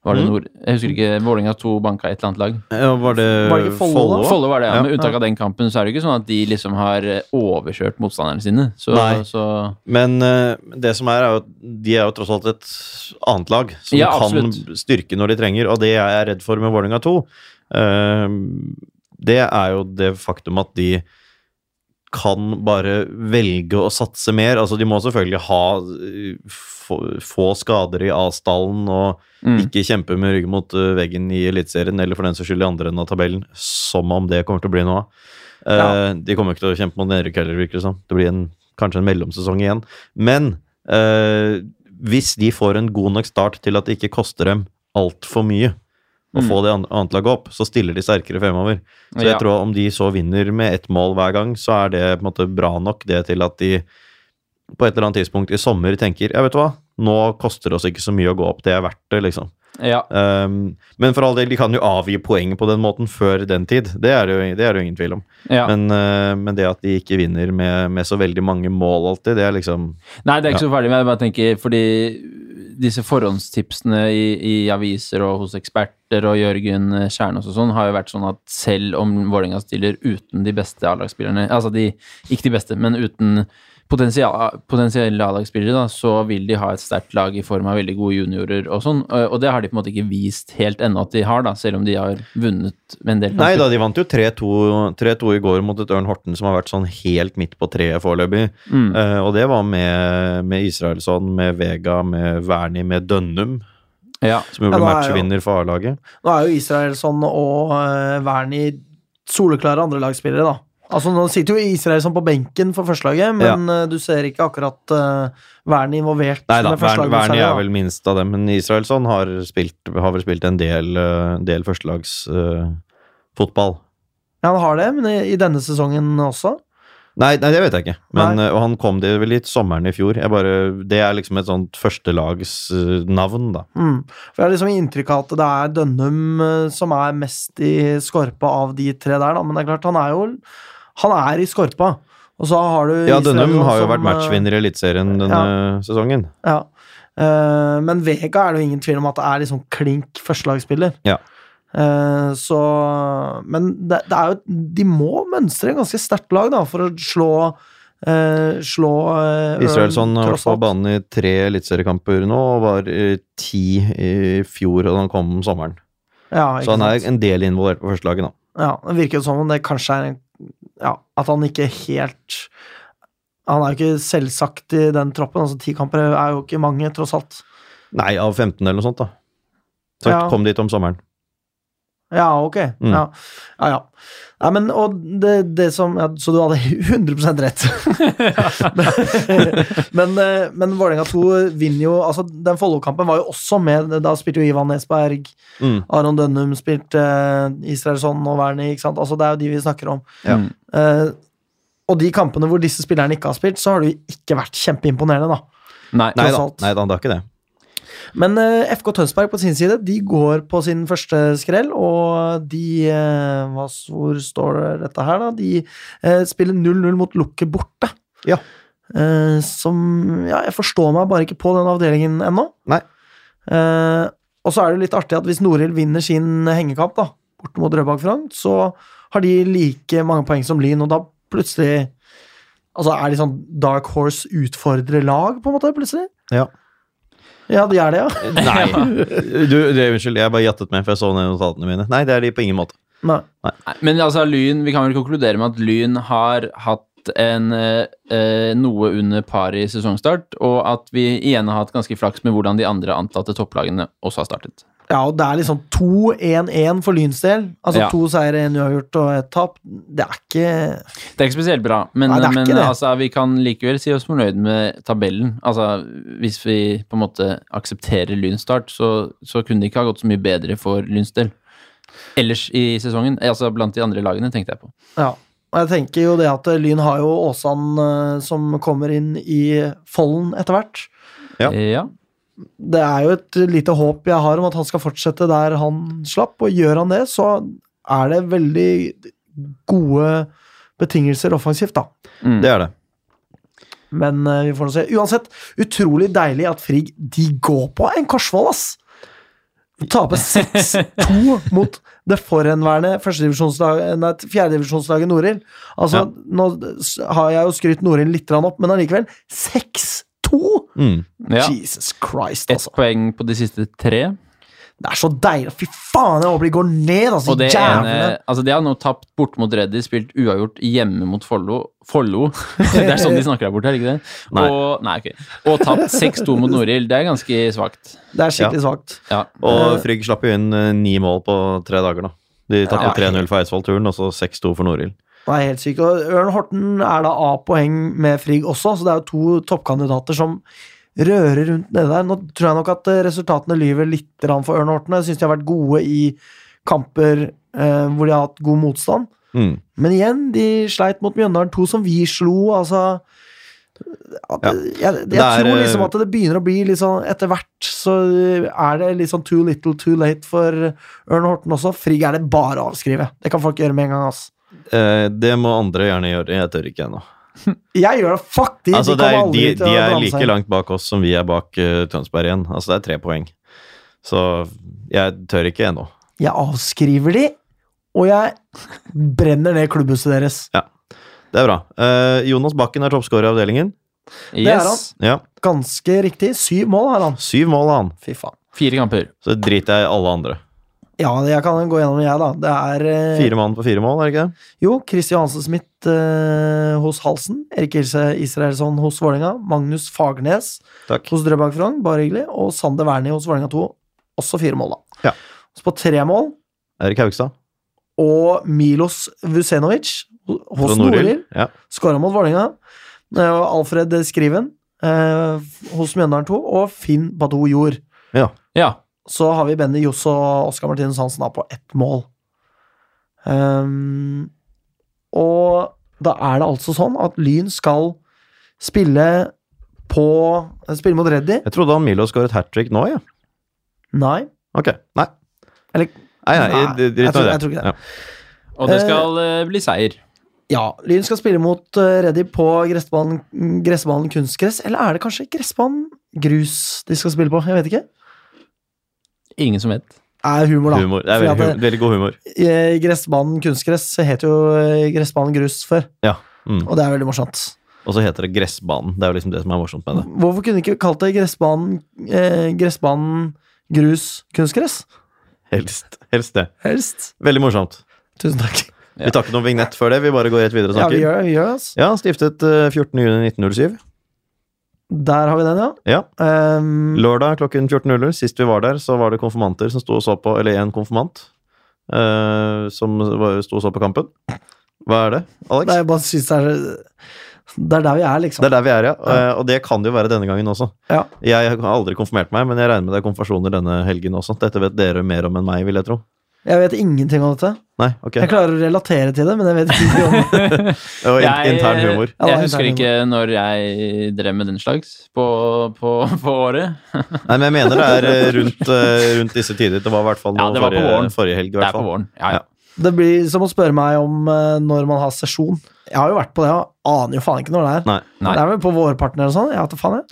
S3: Var
S2: Mhm.
S3: det nord? Jeg husker ikke. Vålerenga 2 banka et eller annet lag.
S2: Ja, var det,
S1: Var det ikke Follo, da?
S3: Follo var det, ja.
S2: Ja,
S3: Med unntak av den kampen så er det ikke sånn at de liksom har eh, overkjørt motstanderne sine. Så,
S2: Nei.
S3: så
S2: Men eh, det som er, er jo at de er jo tross alt et annet lag som
S3: Ja,
S2: kan
S3: absolutt.
S2: styrke når de trenger, og det jeg er redd for med Vålerenga 2, eh, det er jo det faktum at de kan bare velge å satse mer. Altså, de må selvfølgelig ha eh, få, få skader i avstanden og
S3: mm.
S2: ikke kjempe med ryggen mot eh, veggen i Eliteserien, eller for den saks skyld i andre enden av tabellen, som om det kommer til å bli noe av. Eh,
S1: Ja.
S2: De kommer ikke til å kjempe mot nedrykk heller, virker det som. Det blir en, kanskje en mellomsesong igjen. Men eh, hvis de får en god nok start til at det ikke koster dem altfor mye å
S3: Mm.
S2: få det an- annet laget opp, så stiller de sterkere fremover. Så jeg
S3: Ja.
S2: tror om de så vinner med ett mål hver gang, så er det på en måte bra nok det til at de på et eller annet tidspunkt i sommer tenker ja, vet du hva, nå koster det oss ikke så mye å gå opp, det er verdt det, liksom.
S3: ja.
S2: Um, men for all del, de kan jo avgi poeng på den måten før den tid. Det er det jo, det er det jo ingen tvil om.
S3: ja.
S2: Men, uh, men det at de ikke vinner med, med så veldig mange mål alltid, det er liksom
S3: Nei, det er ikke så ferdig, men jeg bare tenker fordi disse forhåndstipsene i, i aviser og hos eksperter og Jørgen Kjernås og sånn, har jo vært sånn at selv om Vålerenga stiller uten de beste A-lagsspillerne Altså de, ikke de beste, men uten potensial, potensielle A-lagsspillere, da, så vil de ha et sterkt lag i form av veldig gode juniorer og sånn. Og og det har de på en måte ikke vist helt ennå at de har, da, selv om de har vunnet med en del
S2: Nei da, de vant jo 3-2 3-2 i går mot et Ørn Horten som har vært sånn helt midt på treet foreløpig.
S3: Mm.
S2: Uh, og det var med, med Israelsson, med Vega, med Wernie, med Dønnum,
S3: Ja.
S2: som jo
S1: Ja, da
S2: ble
S1: er jo-
S2: matchvinner for A-laget.
S1: Nå er jo Israelsson og uh, Wernie soleklare andrelagsspillere, da. Altså, nå sitter jo Israelsson på benken for førstelaget, men eh, du ser ikke akkurat uh, Wernie involvert.
S2: Nei da,
S1: med førstelaget
S2: Wernie
S1: særlig,
S2: er
S1: da.
S2: vel minst av dem, men Israelsson har, spilt, har vel spilt en del, uh, del eh, førstelagsfotball.
S1: Ja, han har det, men i, i denne sesongen også.
S2: Nei, nei, det vet jeg ikke. Men,
S1: Nei.
S2: eh, og han kom det vel litt sommeren i fjor. Jeg bare, det er liksom et sånt førstelagsnavn, da.
S1: Mm. For Jeg har liksom inntrykk av at det er Dønnum eh, som er mest i skorpa av de tre der, da. Men det er klart, han er jo Han er i skorpa. Og så har du
S2: Ja,
S1: Israelsson
S2: Dønnum har jo
S1: som,
S2: vært
S1: eh,
S2: matchvinner i Eliteserien denne sesongen.
S1: Ja. Eh, men Vega er det jo ingen tvil om at det er liksom klink førstelagsspiller.
S2: Ja.
S1: Eh, så Men det, det er jo De må mønstre en ganske sterkt lag, da, for å slå eh, Slå eh,
S2: Israelsson har vært
S1: tross
S2: på
S1: alt.
S2: banen i tre eliteseriekamper nå, og var eh, ti i fjor da han kom om sommeren.
S1: Ja, ikke
S2: Så han
S1: sant?
S2: er en del involvert på førstelaget nå.
S1: Ja, det virker jo som om det kanskje er en, ja, At han ikke helt Han er jo ikke selvsagt i den troppen. altså Ti kamper er jo ikke mange, tross alt.
S2: Nei, av 15 eller noe sånt, da. Så
S1: Ja.
S2: kom dit om sommeren.
S1: Ja, ok.
S2: Mm.
S1: Ja. ja, ja. Nei, men, og det, det som, ja, så du hadde 100 rett. men eh, men Vålerenga 2 vinner jo altså Den Follo-kampen var jo også med. Da spilte jo Ivan Nesberg,
S2: Mm.
S1: Aron Dønnum spilte eh, Israelsson og Wernie. ikke sant? Altså, det er jo de vi snakker om.
S2: Ja.
S3: Mm.
S1: Eh, og de kampene hvor disse spillerne ikke har spilt, så har det jo ikke vært kjempeimponerende, da.
S3: Nei.
S2: Nei
S1: Tross
S2: da,
S1: alt.
S2: nei da, det er ikke det.
S1: Men eh, FK Tønsberg på sin side, de går på sin første skrell, og de eh, hva, s- Hvor står dette her, da? De eh, spiller 0-0 mot Lukke borte.
S2: Ja.
S1: Eh, som Ja, jeg forstår meg bare ikke på den avdelingen ennå.
S2: Nei.
S1: Eh, og så er det jo litt artig at hvis Norhild vinner sin hengekamp, da, borte mot Drøbak Frogn, så har de like mange poeng som Lyn, og da plutselig Altså, er de sånn Dark Horse utfordrer lag, på en måte, plutselig?
S2: Ja.
S1: Ja, de er det, ja.
S2: Nei. Du, det, unnskyld, jeg bare gjettet med, for jeg så ned i notatene mine. Nei, det er de på ingen måte.
S1: Nei.
S3: Nei, Men altså, Lyn, vi kan vel konkludere med at Lyn har hatt en eh, eh, noe under par i sesongstart, og at vi igjen har hatt ganske flaks med hvordan de andre antatte topplagene også har startet.
S1: Ja, og det er liksom 2-1-1 for Lyns del. Altså
S3: Ja.
S1: to seire, én uavgjort og ett tap. Det er ikke
S3: Det er ikke spesielt bra, men,
S1: Nei, det er ikke
S3: men
S1: det.
S3: altså, vi kan likevel si oss fornøyd med tabellen. Altså, hvis vi på en måte aksepterer Lyns start, så, så kunne det ikke ha gått så mye bedre for Lyns del. Ellers i sesongen, altså blant de andre lagene, tenkte jeg på.
S1: Ja. Og jeg tenker jo det at eh, Lyn har jo Åsan eh, som kommer inn i folden etter hvert.
S2: Ja.
S3: Eh, ja.
S1: Det er jo et lite håp jeg har om at han skal fortsette der han slapp, og gjør han det, så er det veldig gode betingelser offensivt, da.
S3: Mm.
S2: Det er det.
S1: Men eh, vi får nå se. Uansett, utrolig deilig at Frigg de går på en korsvoll, ass! Tape 6-2 mot det forhenværende førstedivisjonslag- nei, fjerdedivisjonslaget Norild. Altså,
S2: Ja.
S1: nå s- har jeg jo skrytt Norild litt grann opp, men allikevel 6-2!
S2: Mm.
S3: Ja.
S1: Jesus Christ,
S3: Ett
S1: altså.
S3: poeng på de siste tre.
S1: Det er så deilig. Fy faen, jeg håper de går ned, altså.
S3: Og det
S1: Jævlene.
S3: ene Altså, de har nå tapt borte mot Reddy, spilt uavgjort hjemme mot Follo Follo! det er sånn de snakker der borte, er det ikke det?
S2: Nei.
S3: Og, nei, ok. og tapt 6-2 mot Norild. Det er ganske svakt.
S1: Det er skikkelig svakt.
S3: Ja.
S2: Og Frigg slapp jo inn eh, ni mål på tre dager, da. De tapte
S3: Ja.
S2: 3-0 for Eidsvoll-turen, og så 6-2 for Norild.
S1: Det er helt sykt. Og Ørn Horten er da A-poeng med Frigg også, så det er jo to toppkandidater som rører rundt nede der. Nå tror jeg nok at eh, resultatene lyver litt grann for Ørn Horten. Jeg syns de har vært gode i kamper eh, hvor de har hatt god motstand.
S2: Mm.
S1: Men igjen, de sleit mot Mjøndalen, to som vi slo, altså at,
S2: Ja.
S1: Jeg, jeg
S2: Det er,
S1: tror
S2: eh,
S1: liksom at det begynner å bli litt sånn Etter hvert så er det litt sånn too little, too late for Ørn Horten også. Frigg er det bare å avskrive. Det kan folk gjøre med en gang, ass.
S2: Eh, det må andre gjerne gjøre, jeg tør ikke ennå.
S1: Jeg gjør det. Fuck de!
S2: Altså,
S1: de
S2: det
S1: kommer
S2: er,
S1: aldri
S2: de,
S1: til å
S2: de er
S1: blande
S2: like
S1: seg.
S2: langt bak oss som vi er bak eh, Tønsberg igjen. Altså, det er tre poeng. Så jeg tør ikke ennå.
S1: Jeg avskriver de, og jeg brenner ned klubbhuset deres.
S2: Det er bra. Eh, Jonas Bakken er toppskårer i avdelingen.
S1: Det er han.
S3: Yes.
S2: Ja.
S1: Ganske riktig. Syv mål har han.
S2: Syv mål har han.
S1: Fy faen.
S3: Fire kamper.
S2: Så driter jeg i alle andre.
S1: Ja, jeg kan gå gjennom jeg, da. Det er eh,
S2: Fire mann på fire mål, er det ikke det?
S1: Jo, Kristi Johansen Smith eh, hos Halsen. Erik Ilse Israelsson hos Vålerenga. Magnus Fagernes
S2: Takk.
S1: hos Drøbak Frogn, bare hyggelig. Og Sander Wernie hos Vålerenga 2. Også fire mål, da.
S2: Ja.
S1: Så på tre mål
S2: Erik Haugstad.
S1: og Milos Vucenovic hos
S2: Fra
S1: Norild.
S2: Norild. Ja.
S1: Skåra mot Vålerenga. Eh, og Alfred Skriven eh, hos Mjøndalen 2, og Finn Badou Jord.
S3: Ja.
S1: Så har vi Benny Johs og Oskar Martinus Hansen da på ett mål. Ehm, og da er det altså sånn at Lyn skal spille på eh, Spille mot Reddy?
S2: Jeg trodde han Milo skåret hat trick nå, ja.
S1: Nei.
S2: Ok. Nei.
S1: Eller-
S2: Nei, nei,
S1: Nei,
S2: drit
S1: jeg
S2: nå i
S1: tror-
S2: det.
S1: jeg tror ikke det.
S2: Ja.
S3: Og det skal eh, bli seier.
S1: Ja, Lyn skal spille mot eh, Reddy på gressbanen, gressbanen kunstgress, eller er det kanskje gressbanen grus de skal spille på? Jeg vet ikke.
S3: Ingen som vet.
S1: Det er humor, da.
S2: Humor. Det er
S1: Fordi
S2: veldig,
S1: at det-
S2: hum- veldig god humor.
S1: Eh, Gressbanen kunstgress het jo eh, gressbanen grus før,
S2: Ja. Mm.
S1: og det er veldig morsomt.
S2: Og så heter det Gressbanen. Det er jo liksom det som er morsomt med det.
S1: Hvorfor kunne de ikke kalt det gressbanen, eh, gressbanen grus kunstgress?
S2: Helst, helst det.
S1: Helst.
S2: Veldig morsomt.
S1: Tusen takk.
S3: Ja.
S2: Vi tar ikke noen vignett før det. Vi bare går rett videre og
S1: Ja, vi
S2: snakker.
S1: gjør det. vi gjør det, altså.
S2: Ja, stiftet eh, 14.6.1907.
S1: Der har vi den, ja.
S2: Ja.
S1: Ehm,
S2: Lørdag klokken 14.00. Sist vi var der, så var det konfirmanter som sto og så på, eller en konfirmant eh, som var- sto og så på kampen. Hva er det, Alex?
S1: nei, jeg bare synes det er Det er der vi er, liksom.
S2: Det er der vi er, ja. Eh, Og det kan det jo være denne gangen også.
S1: Ja.
S2: Jeg har aldri konfirmert meg, men jeg regner med det er konfirmasjoner denne helgen også. Dette vet dere mer om enn meg, vil jeg tro.
S1: Jeg vet ingenting om dette.
S2: Nei, ok.
S1: Jeg klarer å relatere til det, men jeg vet ikke om det.
S2: Og in
S3: Jeg- eh,
S2: intern humor.
S1: Ja, det
S3: Jeg
S1: er
S3: husker
S1: intern
S3: ikke når jeg drev med den slags på, på, på året.
S2: Nei, men jeg mener det er eh, rundt, eh, rundt disse tider. Det var i hvert fall nå
S3: Ja, det var på
S2: forrige,
S3: våren.
S2: forrige helg. I
S3: Det
S2: hvert
S3: er på
S2: fall.
S3: våren. Ja, ja.
S1: Det blir som å spørre meg om eh, når man har sesjon. Jeg har jo vært på det, og aner jo faen ikke når det er.
S2: Nei.
S3: Nei.
S1: Det er vel på vårparten eller sånn? Jeg vet da faen, jeg.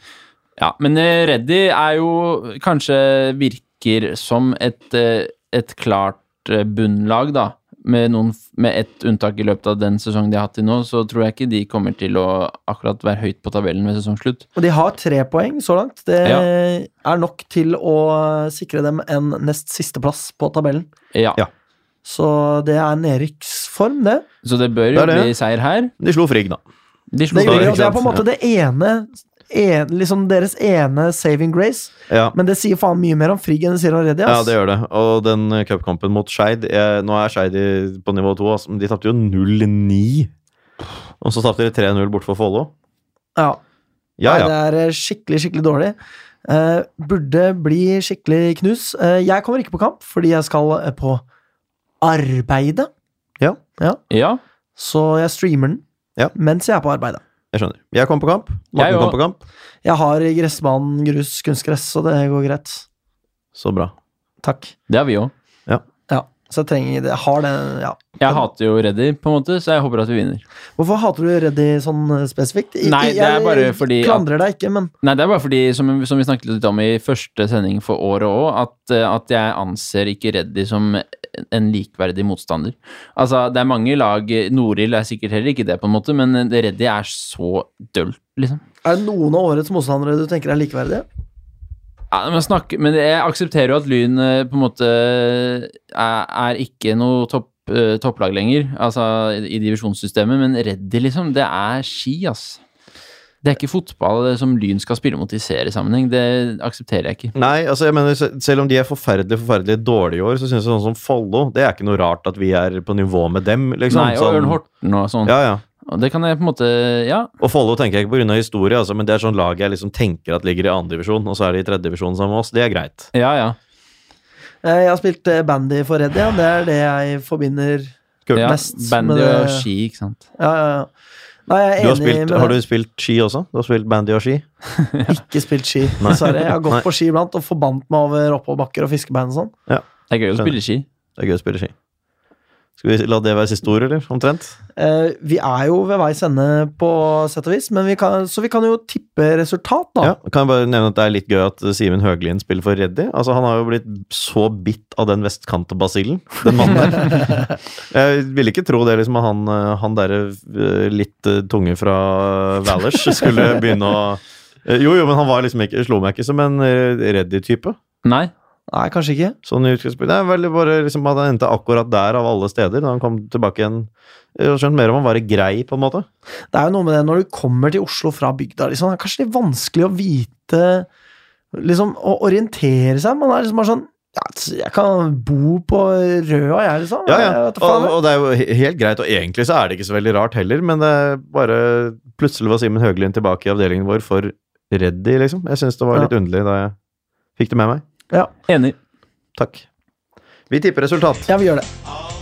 S3: Ja, men eh, Reddy er jo kanskje virker som et, eh, et klart eh, bunnlag, da. Med, noen, med ett unntak i løpet av den sesongen de har hatt til nå, så tror jeg ikke de kommer til å akkurat være høyt på tabellen ved sesongslutt.
S1: Og de har tre poeng så langt. Det
S3: Ja.
S1: er nok til å sikre dem en nest sisteplass på tabellen.
S3: Ja.
S2: Ja.
S1: Så det er nedrykksform, det.
S3: Så det
S2: Det
S3: bør jo
S2: er det.
S3: bli seier her.
S2: De slo Frigg, da.
S3: De slo
S1: Det, gjør,
S2: ikke
S1: de,
S3: Frigg.
S1: og det altså. er på en
S2: sant?
S1: måte det ene en, liksom Deres ene saving grace.
S2: Ja.
S1: Men det sier faen mye mer om Frigg enn det sier om Reddy.
S2: ja,
S1: ass.
S2: det gjør det. Og den eh, cupkampen mot Skeid eh, Nå er Skeid i- på nivå to, altså, men de tapte jo 0-9. Og så tapte de 3-0 bort for Follo.
S1: Ja.
S2: Ja,
S1: Nei,
S2: ja.
S1: Det er eh, skikkelig, skikkelig dårlig. Eh, burde bli skikkelig knus. Eh, jeg kommer ikke på kamp fordi jeg skal eh, på arbeidet.
S3: Ja.
S1: Så jeg streamer den
S2: Ja.
S1: mens jeg er på arbeidet.
S2: Jeg skjønner. Jeg kom på kamp. Morten
S3: Jeg
S2: kom
S3: òg.
S2: på kamp.
S1: Jeg har gressbanen, grus, kunstgress, så det går greit.
S2: Så bra.
S1: Takk.
S3: Det har vi òg.
S1: Ja. Så jeg trenger det. Jeg har det, ja.
S3: Jeg hater jo Reddy, på en måte, så jeg håper at vi vinner.
S1: Hvorfor hater du Reddy sånn eh, spesifikt? I-
S3: Nei,
S1: i-
S3: det er bare fordi
S1: Jeg klandrer deg ikke, men
S3: Nei, det er bare fordi, som, som vi snakket litt om i første sending for året òg, at, eh, at jeg anser ikke Reddy som en likverdig motstander. Altså, det er mange lag Norild er sikkert heller ikke det, på en måte, men det Reddy er så dølt, liksom.
S1: er det noen av årets motstandere du tenker er likeverdige?
S3: Ja, men, snakk, men jeg aksepterer jo at Lyn eh, på en måte er, er ikke noe topp, eh, topplag lenger, altså i, i divisjonssystemet, men Reddy, liksom, det er ski, ass. Det er ikke fotball som Lyn skal spille mot i seriesammenheng. Det aksepterer jeg ikke.
S2: Nei, altså jeg mener, se- selv om de er forferdelig forferdelig dårlige i år, så synes jeg sånn som Follo Det er ikke noe rart at vi er på nivå med dem, liksom.
S3: Nei, og
S2: Sånn-
S3: Ørn Horten og sånn.
S2: Ja, ja.
S3: Og det kan jeg på en måte Ja.
S2: Og Follo tenker jeg ikke pga. historie, altså, men det er sånn lag jeg liksom tenker at ligger i andredivisjon, og så er de i tredjedivisjon sammen med oss. Det er greit.
S3: Ja, ja.
S1: Eh, Jeg har spilt eh, bandy for Reddy, ja. Det er det jeg forbinder
S2: Kult.
S3: ja
S1: mest,
S3: bandy
S1: men det-
S3: og ski, ikke sant.
S1: Ja, ja, ja. Nei, jeg er
S2: Du har,
S1: enig
S2: spilt,
S1: med
S2: har du
S1: deg.
S2: spilt ski også? Du har spilt bandy og ski?
S1: Ikke spilt ski, dessverre. Jeg har gått
S2: Nei.
S1: på ski iblant og forbandt meg over oppoverbakker og fiskebein og sånn.
S3: Det er gøy å spille ski.
S2: Det er gøy å spille ski. Skal vi la det være siste ord, eller? Omtrent?
S1: Eh, vi er jo ved veis ende på sett og vis, men vi kan, så vi kan jo tippe resultat, da.
S2: Ja. Kan jeg bare nevne at det er litt gøy at Simen Høglien spiller for Reddy? Altså, han har jo blitt så bitt av den vestkantbasillen, den mannen der. Jeg ville ikke tro det, liksom, at han, eh, han derre eh, litt eh, tunge fra Valers skulle begynne å Eh, Jo, jo, men han var liksom ikke, slo meg ikke som en eh, Reddy-type.
S3: Nei.
S1: Nei, kanskje ikke.
S2: Sånn i utgangspunktet. Det er veldig bare liksom at han endte akkurat der, av alle steder, da han kom tilbake igjen. Jeg har skjønt mer om han var i grei, på en måte.
S1: Det er jo noe med det når du kommer til Oslo fra bygda, liksom. Det er kanskje litt vanskelig å vite Liksom å orientere seg. Man er liksom bare sånn ja, Jeg kan bo på Røa, jeg, liksom.
S2: Ja, ja.
S1: Jeg vet da
S2: Og,
S1: faen, jeg.
S2: og det er jo he- helt greit, og egentlig så er det ikke så veldig rart heller, men det er bare plutselig var Simen Høglund tilbake i avdelingen vår for Reddy, liksom. Jeg syns det var litt underlig da jeg fikk det med meg.
S3: Enig.
S2: Takk. Vi tipper resultat.
S1: ja, vi gjør det.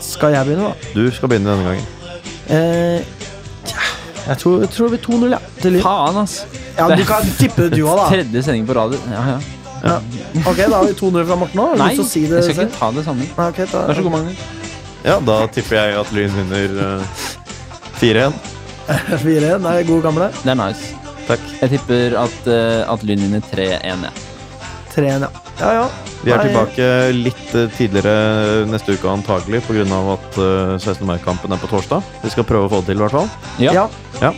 S1: Skal jeg begynne, da?
S2: Du skal begynne denne gangen.
S1: Eh, tja, jeg tror, jeg tror det blir 2-0, ja. Til Lyn.
S3: Faen, ass.
S1: Ja, du kan tippe det du òg, da.
S3: Tredje sending på radio. Ja, ja.
S1: Ok, da har vi 2-0 fra Morten òg.
S3: Nei,
S1: Har du lyst til å si det
S3: jeg skal
S1: selv?
S3: ikke ta det samme.
S1: Nei, ok, da-
S3: Vær så god, Magnus.
S2: Ja, da tipper jeg at Lyn vinner eh, 4-1.
S1: 4-1, det er gode gamle.
S3: Det er nice.
S2: Takk.
S3: Jeg tipper at, uh, at Lyn vinner 3-1. Ja.
S1: 3-1, ja. Ja, ja.
S2: Vi er
S1: Nei,
S2: tilbake litt eh, tidligere neste uke antagelig pga. at eh, 16. mai-kampen er på torsdag. Vi skal prøve å få det til, i hvert fall.
S3: Ja.
S1: Ja.
S2: Ja.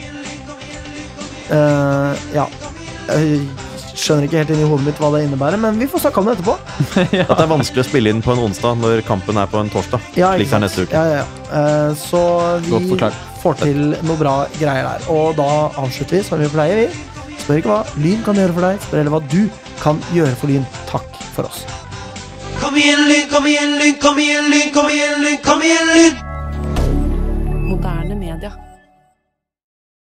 S1: Eh, ja. Jeg skjønner ikke helt inn i hodet mitt hva det innebærer, men vi får snakke om det etterpå.
S2: At det er vanskelig å spille inn på en onsdag når kampen er på en torsdag.
S1: Ja, ikke
S2: slik det er
S1: sant.
S2: neste uke.
S1: Ja, ja, ja. Eh, så
S3: Godt
S1: vi
S3: forklart.
S1: får til noe bra greier der. Og da avslutter vi som vi pleier, vi. Spør ikke hva Lyn kan gjøre for deg, spør heller hva du kan gjøre for Lyn. Takk for oss.
S5: Kom igjen, Lyn, kom igjen, Lyn, kom igjen, Lyn, kom igjen, Lyn, kom igjen, Lyn!
S6: Moderne media.